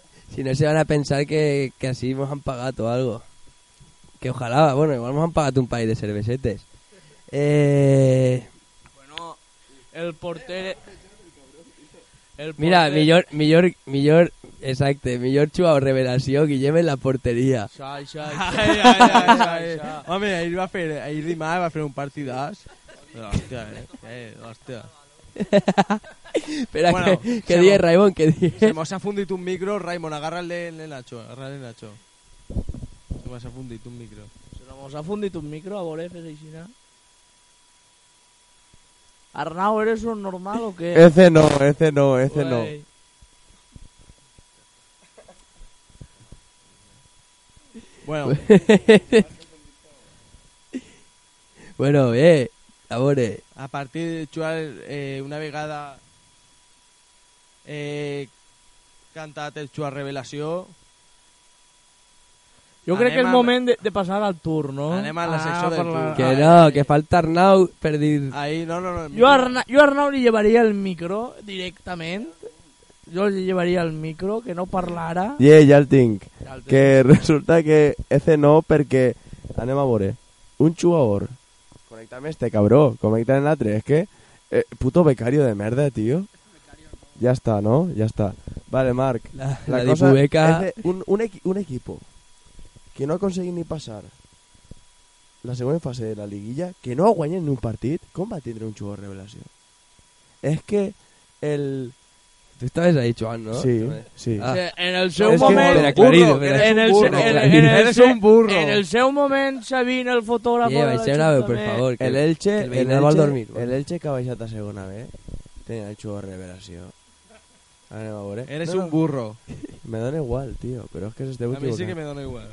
B: si no se van a pensar que, que así nos han pagado o algo. Que ojalá, bueno, igual nos han pagado un país de cervesetes. Eh,
E: El porter... El
B: mira,
E: porter-
B: millor, millor, millor, exacte, millor jugador revelació, Guillem en la porteria.
E: Això, això,
C: Ai,
E: això.
C: ai, ai, ai, ai. Home, ahir, va fer, ahir dimarts va fer un partidàs. Però, Hòstia, eh? eh hòstia.
B: Espera,
C: Bueno,
B: que,
C: se
B: que digue
C: mo-
B: Raimon, que digue.
C: Se mos ha fundit un micro, Raimon, agarra el de- el de Nacho, agarra el de Nacho. Se mos ha fundit un micro.
E: Se nos ha fundit un micro, a veure, fes així, no? Arnau, eres un normal o què?
D: Ese no, ese no, ese no.
B: Pues,
E: Ué.
C: Bueno,
B: bueno, eh, a veure.
C: a partir de jugar eh, una vegada eh, cantat el Xuar Revelació,
E: Jo crec que
C: Anem
E: és
C: a-
E: moment de, de passar al tour, no?
C: Anem a la secció del
E: per
C: tour.
B: Que
C: Ay.
B: no, que falta Arnau per dir...
C: ahí no, no, no. el
E: Jo
C: micro.
E: a, Arna, jo a Arnau li llevaria el micro directament. Jo li llevaria el micro, que no parlara.
D: Yeah, ja el tinc. Que resulta que ese no perquè... Anem a veure. Un jugador. Connecta'm este, cabró. Connecta'm l'altre. És que... Eh, puto becario de merda, tío. Ya está, ¿no? Ya está. Vale, Marc.
B: La, la, dipubeca...
D: es de un, un, equi- un equipo que no ha conseguido ni pasar la segunda fase de la liguilla, que no ha guanyat ni un partido, ¿cómo va a tener un chulo revelación? Es que el...
B: Tú estabas ahí, Joan, ¿no?
D: Sí, sí.
B: Ah.
E: En el seu
D: És que-
E: moment...
B: Espera, aclarido,
C: burro,
B: espera.
C: eres
E: en
C: un
E: el,
C: burro,
E: en,
B: aclarido.
E: en el,
C: Eres un burro.
E: En el seu moment, Sabine, el fotògrafo...
B: Yeah,
E: de
B: vais a ser bravo, por
E: l'Ajuntament,
B: favor. que-
D: El Elche,
B: que
D: el,
B: Bernabéu
D: Elche,
B: va a dormir,
D: el
B: bueno.
D: Elche que ha baixat a segona B tenia el xulo revelació. Anem a veure.
C: Eres
D: No, no,
C: un burro.
D: Me dona igual, tío, pero es que se esteu
C: A mí sí que
D: equivocant.
C: me dona igual.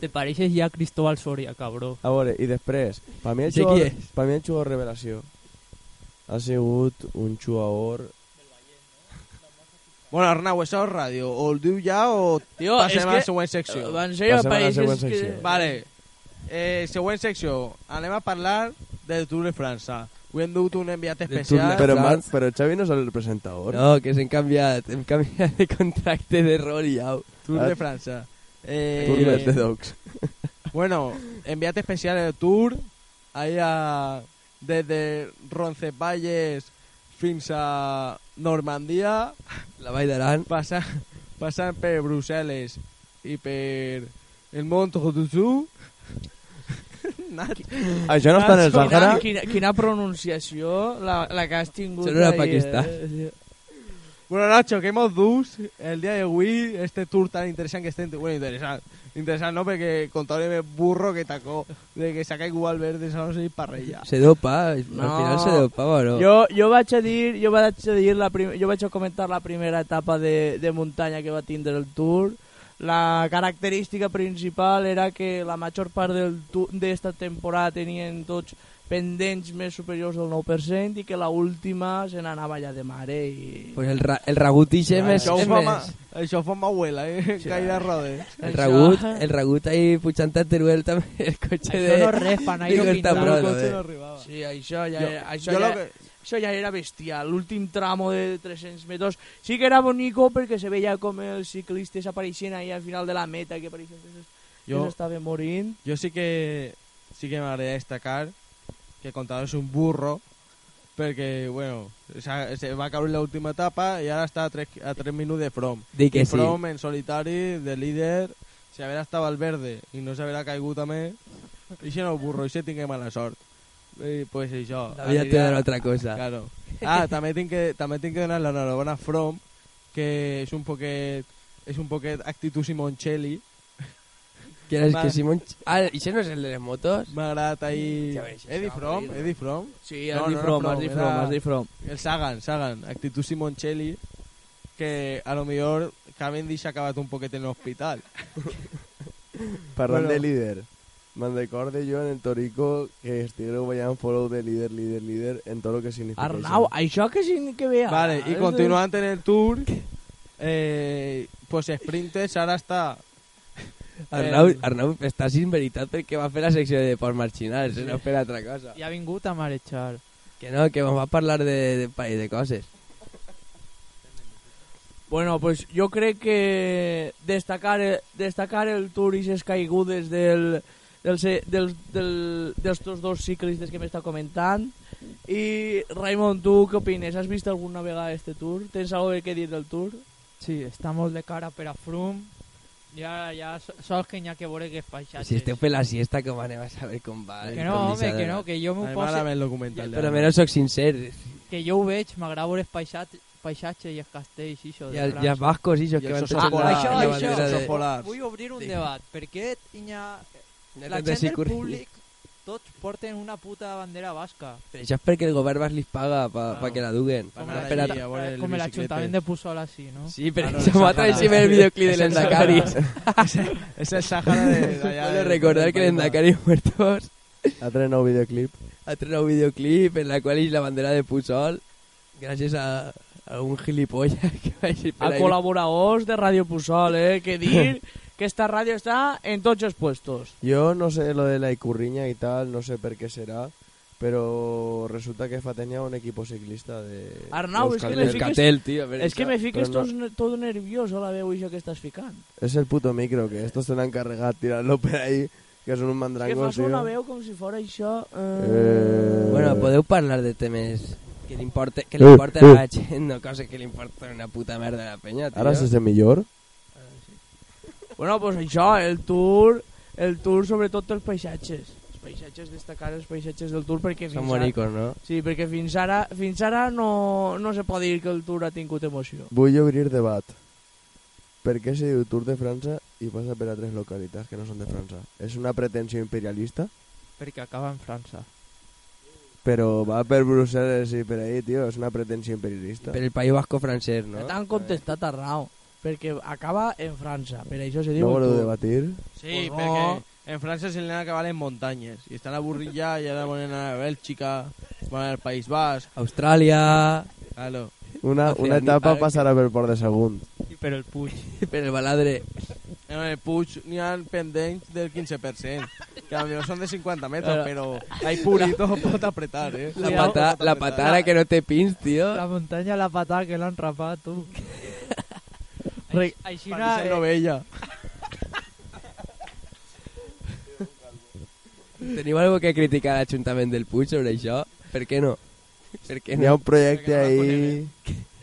F: Te pareixes ja Cristóbal Soria, cabró.
D: A veure, i després, per mi el
B: Sí, qui
D: jugador,
B: és?
D: per mi el jugador revelació ha sigut un jugador...
C: Bueno, Arnau, això és ràdio. O el diu ja o
E: Tio,
C: passem
E: és
C: a la
E: que-
C: següent secció.
E: Van ser
D: Passem a la següent
E: països que...
D: secció.
C: Vale. Eh, següent secció. Anem a parlar del Tour de França. Avui hem dut un enviat
B: Tour de
C: especial.
B: França.
D: Però, Marc, però Xavi no és el presentador.
B: No, que se canviat, hem canviat de contracte de rol i au.
C: Tour de França. Eh,
D: Tour de- de Docs.
C: Bueno, enviat especial del Tour. Ahí a... Desde Roncesvalles fins a Normandia,
B: La Vall d'Aran.
C: passant, passant per Brussel·les i per el Mont Rodouzou. Nat,
D: Això no
C: Ah,
D: està en el
E: Quina-
D: Sàhara?
E: Quina, quina pronunciació la, la que has tingut eh.
B: Sembla
E: ahir,
B: Pakistan.
E: eh?
C: Bueno, Nacho, que hemos dus el día de avui, este tour tan interessant que estem... Bueno, interessant. Interessant, no? Perquè contaré me burro que tacó de que saca igual verde, no sé, parrella.
B: Se dopa,
E: No.
B: al final se dopaba, o ¿no?
E: Jo, jo vaig a dir, jo vaig a dir la prim, jo vaig a comentar la primera etapa de, de muntanya que va tindre el Tour. La característica principal era que la major part del tu- d'esta temporada tenien tots pendents més superiors del 9% i que la última se n'anava ja de mare i...
B: Pues el, ra el raguti se me...
C: això, ho
B: se
C: fa
B: me-
C: ma, això ho fa ma abuela, eh? Sí. Caire rodes.
B: El
E: Això-
B: ragut, el ragut ahí puchant a Teruel también, el coche
F: Això
B: de...
F: no respan, ahí
B: digo,
F: no
B: está
F: pintan.
B: bravo,
F: El coche
B: eh.
F: no arribava.
E: Sí, això ja,
C: Jo-
E: era, això,
C: jo
E: ja,
C: lo que-
E: això ja era bestial. L'últim tramo de 300 metres sí que era bonico perquè se veia com els ciclistes apareixien ahí al final de la meta, que apareixien que s'es- que
C: Jo-
E: s'estaven morint.
C: Yo sí que sí que me agradaría destacar que el contador es un burro, porque, bueno, se, se va a acabar la última etapa y ahora está a tres, a tres minutos de From.
B: Di que
C: Y
B: sí.
C: From en solitario, de líder, se habrá estado al verde y no se habrá caído también. Y si no, burro, y se tiene mala suerte. Y pues y yo.
B: La vida te
C: aniria-
B: dará otra cosa.
C: Claro. Ah, també tinc que, també tinc que donar l'enhorabona a From, que és un poquet, és un poquet actitud Simoncelli.
B: ¿Quieres que
C: Vale.
B: Simón... Ah, ¿y ese no es el de las motos?
C: M'ha agradat ahir...
B: Ja veus, això
C: Eddie
B: va
C: From,
B: morir, no?
C: Eddie From.
E: Sí,
C: No,
E: has
C: no
E: dit
C: era
E: from,
C: prou,
E: has dit
C: era-
E: from, has dit from.
C: El Sagan, Sagan, actitud Simoncelli, que a lo millor Cavendish ha acabat un poquet en l'hospital.
D: Parlant
C: Bueno.
D: de líder, me'n recorde jo en el Torico que estigueu ballant follow de líder, líder, líder en tot el que significa
E: Arnau,
D: això.
E: això que sí que veia.
C: Vale, i continuant en el Tour, eh, pues Sprinters ara està...
B: Arnau,
C: Eh.
B: Arnau está sin veritat porque va a hacer la sección de por marchinal, se no espera otra cosa.
F: I ha vingut a marechar.
B: Que no, que vamos a hablar de, de país de cosas.
E: Bueno, pues jo crec que destacar, destacar el Tour i les caigudes del, del, se- del, del, dels dos ciclistes que m'està comentant. I, Raimon, tu què opines? Has vist alguna vegada este Tour? Tens alguna cosa que dir del Tour?
F: Sí, està molt de cara per a Froome. I ara ja so- sols que n'hi ha que veure que faixatges.
B: Si este fue la siesta, ¿cómo van a saber con va?
F: Que no, home, que no, que jo m'ho
C: Anem ara
F: poso...
C: amb el documental.
B: Pero menos soy sincero.
F: Que jo ho veig, m'agrada veure els paisat- paisatges i els castells, i això,
B: Y
F: de
B: al- y a
F: França.
B: vascos y ellos
C: I
B: que van
C: els
B: a
C: ossos
F: Ah,
C: polars.
B: la
F: això,
C: i
F: això.
B: bandera
C: els
B: de...
C: ossos polars.
F: Vull obrir un
B: Sí.
F: debat. Per què hi ha...
B: No
F: La
B: tendré
F: gent del
B: sigur-
F: públic, tots porten una puta bandera basca.
B: Pero ya es porque el gobierno les paga para
F: Claro.
B: que la duguen. Pa-
C: Para
B: espera-
C: allí, a veure les
F: Com el
C: bicicletes.
F: Ajuntament de Puçol així, no?
B: Sí, pero
C: Ah, no,
B: se
C: el
B: va a
C: Sahara.
B: traer encima el videoclip del
C: Es el Sahara.
B: Endacari.
C: Es el Sahara de, de allá.
B: Bueno,
C: del-
B: recordar
C: del
B: que el
C: País
B: Endacari Muertos
D: Ha tret nou videoclip.
B: ha traído un videoclip en la cual es la bandera de Pusol, gracias a, a un gilipollas que va a ir por
E: A
B: ahí.
E: col·laboradors de Ràdio Puçol, eh? Que dir que esta ràdio està en tots els puestos.
D: Jo no sé lo de la icurriña y tal, no sé per què serà, però resulta que fa tenia un equipo ciclista de...
E: Arnau, és que
D: d'Euskaltel.
E: me fiques...
B: Euskaltel, tío. pero
E: És que me fiques
D: Però
E: tot,
D: no-
E: tot nervioso la veu i això que estàs ficant.
D: Es el puto micro, que esto se lo han cargado tirarlo por ahí, que son un
E: És que
D: mandrango,
E: fas una
D: tío.
E: veu com si fora això...
D: Eh.
B: Bueno, podeu parlar de temes que le importe, que le
D: Uh,
B: importe a la gent, no coses que le importa una puta merda a la peña, tío.
D: Ara se sent millor?
E: Bueno, pues això, el tour, el tour sobretot els paisatges. Els paisatges, destacar els paisatges del tour perquè fins
B: Son
E: ara...
B: monicos, ¿no?
E: Sí, perquè fins ara, fins ara no, no se pot dir que el tour ha tingut emoció.
D: Vull obrir debat. Per què se diu Tour de França i passa per a tres localitats que no són de França? És una pretensió imperialista,
F: Perquè acaba en França.
D: però va per Brussel·les i per ahí, tio, és una pretensió imperialista.
B: Pero el País Vasco francés, ¿no?
E: No? T'han contestat a raó, perquè acaba en França, per això se diu el
D: No voleu
E: tour.
D: debatir?
C: Sí,
E: Pues no.
C: perquè en França se li han acabat les muntanyes i estan avorrits ja i ara volen anar a Bèlgica, volen anar al País Basc,
B: Australia,
C: claro.
D: Una,
B: No sé,
D: una
B: a mi
D: etapa
B: pare-
D: passarà per Port de Segon.
F: I per el Puig.
B: pero el baladre.
C: En el Puig n'hi ha pendents del 15%, que a lo millor són de 50 metres, però ahí purito pot apretar, eh?
B: La, pata, la patara que no te pins, tío.
F: La muntanya la patada que l'han rapat, tu.
E: Re-
F: Així
C: Parece
F: eh,
C: novella.
B: Teniu algo que criticar a l'Ajuntament del Puig sobre això? Per què no? Per què
D: Hi ha
B: no?
D: un projecte ahí...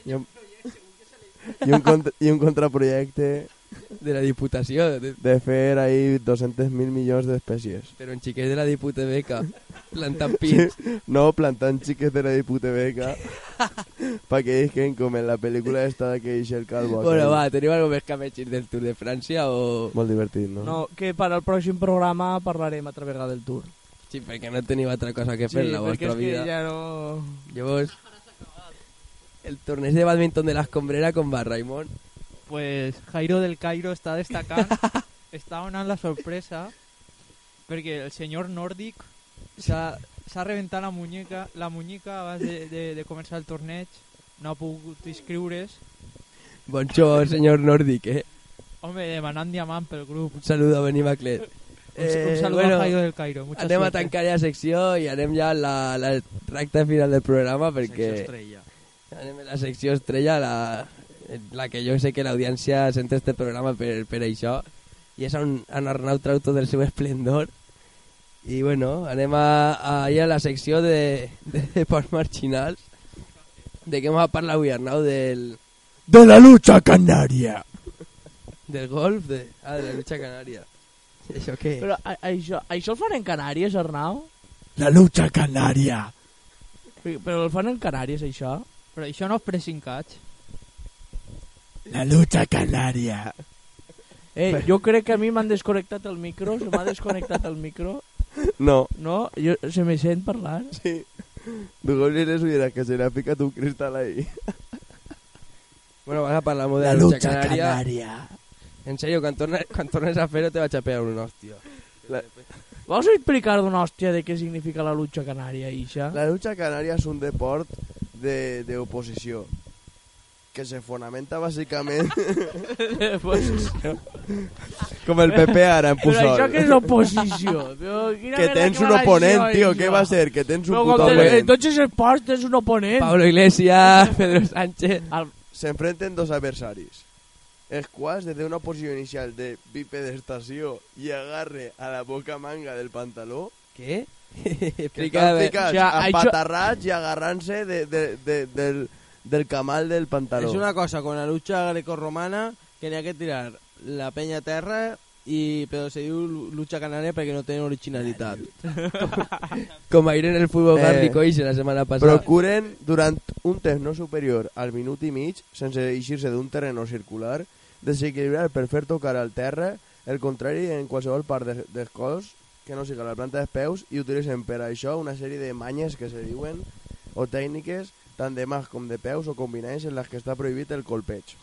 D: Hi ha un, i un, contra, i un contraprojecte
B: De la Diputació, de-
D: de fer ahí 200.000 milions d'espècies.
B: però un xiquet de la Diputebeca. Plantan pins.
D: No, plantan chiques de la disputebeca para que dejen comer la película esta que dice el calvo.
B: bueno,
D: aquell.
B: va, teniu algo més que afegir del Tour de Francia o...
D: Molt divertit, no?
E: No, que per al pròxim programa parlarem altra vegada del tour.
B: Sí, perquè no teniu altra cosa que fer en la
E: perquè
B: vostra
E: és que
B: vida.
E: ja no...
B: Llavors, el torneig de badminton de la escombrera con va, Raimon.
F: Pues Jairo del Cairo està destacant, està donant la sorpresa, perquè el senyor nòrdic s'ha s'ha reventat la muñeca, la muñeca abans de, de, de començar el torneig, no ha pogut inscriure's,
B: Bon xou, senyor nòrdic, eh?
F: home, demanant diamant pel grup.
B: Un saludo a Benimaclet.
F: Un, un saludo a Jairo del Cairo, mucha
B: Eh, anem a
F: suerte.
B: tancar ja secció i anem ja a la, la recta final del programa perquè...
C: Secció estrella.
B: Anem a la secció estrella, la, la que jo sé que l'audiència sente este programa per, per això, i és en, en Arnau Trauto del seu esplendor. I bueno, anem a, a, ahí a la secció de, de Pons Marginals. De què m'ha parlat avui, Arnau? Del,
D: De la lucha canaria.
B: del golf? De, ah, de la lucha canària. I Això què?
E: Però a, això, això el fan en Canàries, Arnau?
D: La lucha canaria.
E: Però el fan en Canàries, això?
F: Però això no és pressing catch.
D: La lucha canaria.
E: Eh, jo crec que a mi m'han desconnectat el micro, se m'ha desconnectat el micro,
D: No,
E: no? Jo, se me sent parlar?
D: sí. Luego le subieras que se le ha picado un cristal ahí.
B: Bueno, vas a parlar molt de la, lucha, canària. En serio, quan tornes, quan tornes a fer-ho te vaig a pegar un hòstia.
E: Vols explicar d'una hòstia de què significa la lucha canària, Ixa?
D: La lucha canaria és un deport de, de oposició que se fonamenta bàsicament
E: pues,
D: com el PP ara en
E: però
D: Pusol.
E: això que és oposició. Però quina
D: que
E: merda
D: tens
E: que
D: un
E: va
D: oponent,
E: això,
D: tio,
E: Ixa?
D: què va a ser? Que tens un
E: Però
D: puto
E: com te,
D: oponent.
E: entonces el Pons tens un oponent.
B: Pablo Iglesias, Pedro Sánchez...
E: Al-
D: S'enfrenten dos adversaris, els quals des d'una posició inicial de bipedestació i agarre a la boca manga del pantaló
B: Què?
D: que
B: Explica...
D: estan
B: a veure.
D: ficats
E: eh, o sea,
D: a
E: això-
D: patarrats i agarrant-se de, de, de, del, del camal del pantaló.
C: Es una cosa, con la lucha grecorromana que n'hi ha que tirar la penya a terra i però se diu lu- lucha canària perquè no tenen originalitat.
B: Como ir en el fútbol
D: Eh,
B: gárdico hice la semana pasada.
D: Procuren durant un temps no superior al minut i mig, sense eixir-se d'un terreno circular, desequilibrar per fer tocar al terra el contrari en qualsevol part de, del cos que no siga la planta dels peus i utilitzen per a això una sèrie de manyes que se diuen o tècniques tant de mans com de peus o combinades en les que està prohibit el colpeig.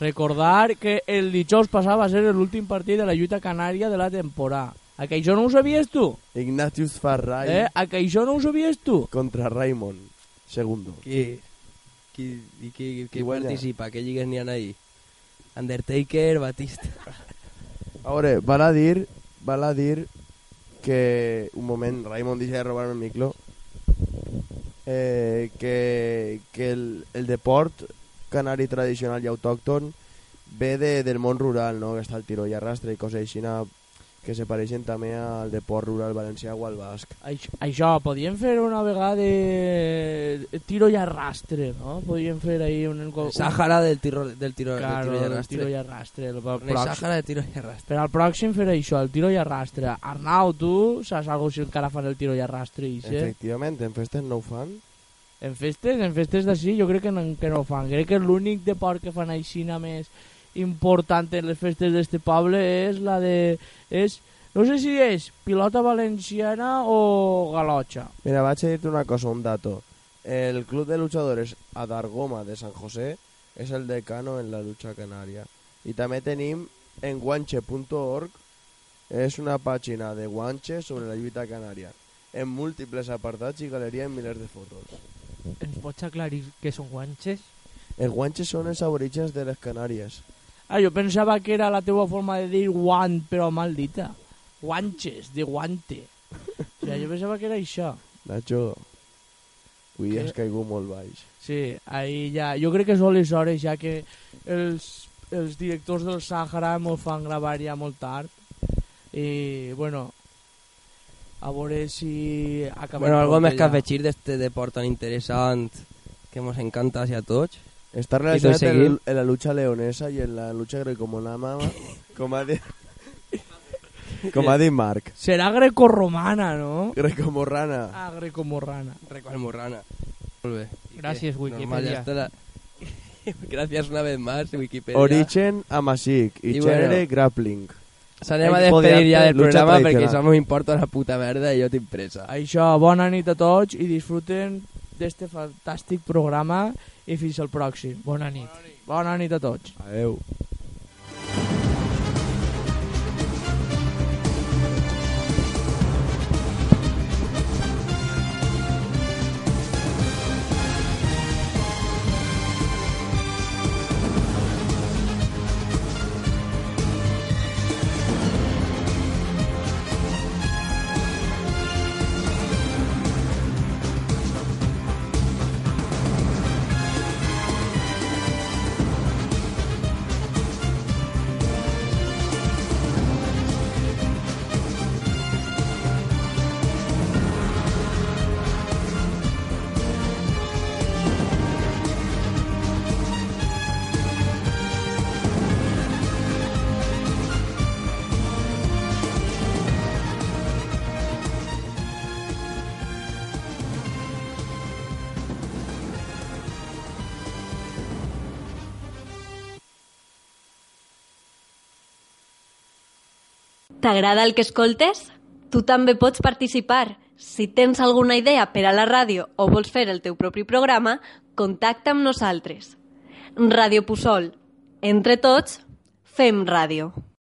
E: Recordar que el dijous passat va ser l'últim partit de la lluita canària de la temporada. A que això no ho sabies tu?
D: Ignatius Farray
E: Eh? A que això no ho sabies tu?
D: contra Raymond segundo.
B: ¿Qué? ¿Qué, y qué, qué
D: Y bueno.
B: participa? ¿Qué llegues ni ahí? Undertaker, Batista.
D: A veure, val a dir, val a dir que... Un moment, Raimon deixa de robar-me el micro. Eh, que que el, el deport canari tradicional i autòcton ve de, del món rural, no? Que està el tiro i arrastre i coses així na- que se pareixen també al deport rural valencià o al basc.
E: Això, això podíem fer una vegada eh, tiro i arrastre, no? Podíem fer ahí un...
C: Uh.
E: un
B: Sáhara del tiro, del tiro,
E: claro,
B: del tiro y
E: el tiro i
B: arrastre.
E: arrastre. El,
B: Tornei
E: pròxim,
B: Sáhara de tiro y arrastre.
E: per al pròxim fer això, el tiro i arrastre. Arnau, tu saps alguna si encara fan el tiro i arrastre? I, eh?
D: Sí. Efectivament, en festes no ho fan.
E: En festes, en festes d'ací jo crec que no, que no ho fan. Crec que l'únic deport que fan aixina més important en les festes d'este poble és la de... És, no sé si és pilota valenciana o galotxa.
D: Mira, vaig a dir-te una cosa, un dato. El club de luchadores Adargoma de San José és el decano en la lucha canaria. I també tenim enguanche.org, és una pàgina de guanche sobre la lluita canària, en múltiples apartats i galeria en milers de fotos.
F: Ens pots aclarir què són guanxes?
D: Els guanches són els aborígens de les Canàries.
E: Ah, jo pensava que era la teua forma de dir guant, però mal dita. Guanches, de guante. O sigui, jo pensava que era això.
D: Nacho, avui
E: Què?
D: has caigut molt baix.
E: Sí, ahí ja... Jo crec que són les hores ja que els, els directors del Sàhara m'ho fan gravar ja molt tard. I, bueno, a veure si acabem...
B: Bueno, algo
E: pronto
B: más que
E: ja.
B: afegir de este deporte tan interesante que nos encanta hacia todos. tot
D: Està relacionat
B: seguit.
D: en, en la lucha leonesa i en la lucha grecomonama, com ha dit... Como a Di Mark.
E: Será grecorromana, ¿no?
D: Greco Morrana.
E: Ah, greco-morrana.
B: Recual Morrana. Vuelve.
F: Gracias,
B: Normal, ya
F: Wikipedia.
B: está la- Gracias una vez más, Wikipedia.
D: Origen Amashik y,
B: Y bueno.
D: Chenere Grappling.
B: S'anem a despedir ya del programa perquè això no m'importa una puta merda i jo tinc pressa.
E: Això, bona nit a tots i disfruten d'este fantàstic programa i fins al pròxim.
F: Bona nit.
E: Bona nit a tots.
D: Adeu.
A: T'agrada el que escoltes? Tu també pots participar. Si tens alguna idea per a la ràdio o vols fer el teu propi programa, contacta amb nosaltres. Ràdio Pusol. Entre tots, fem ràdio.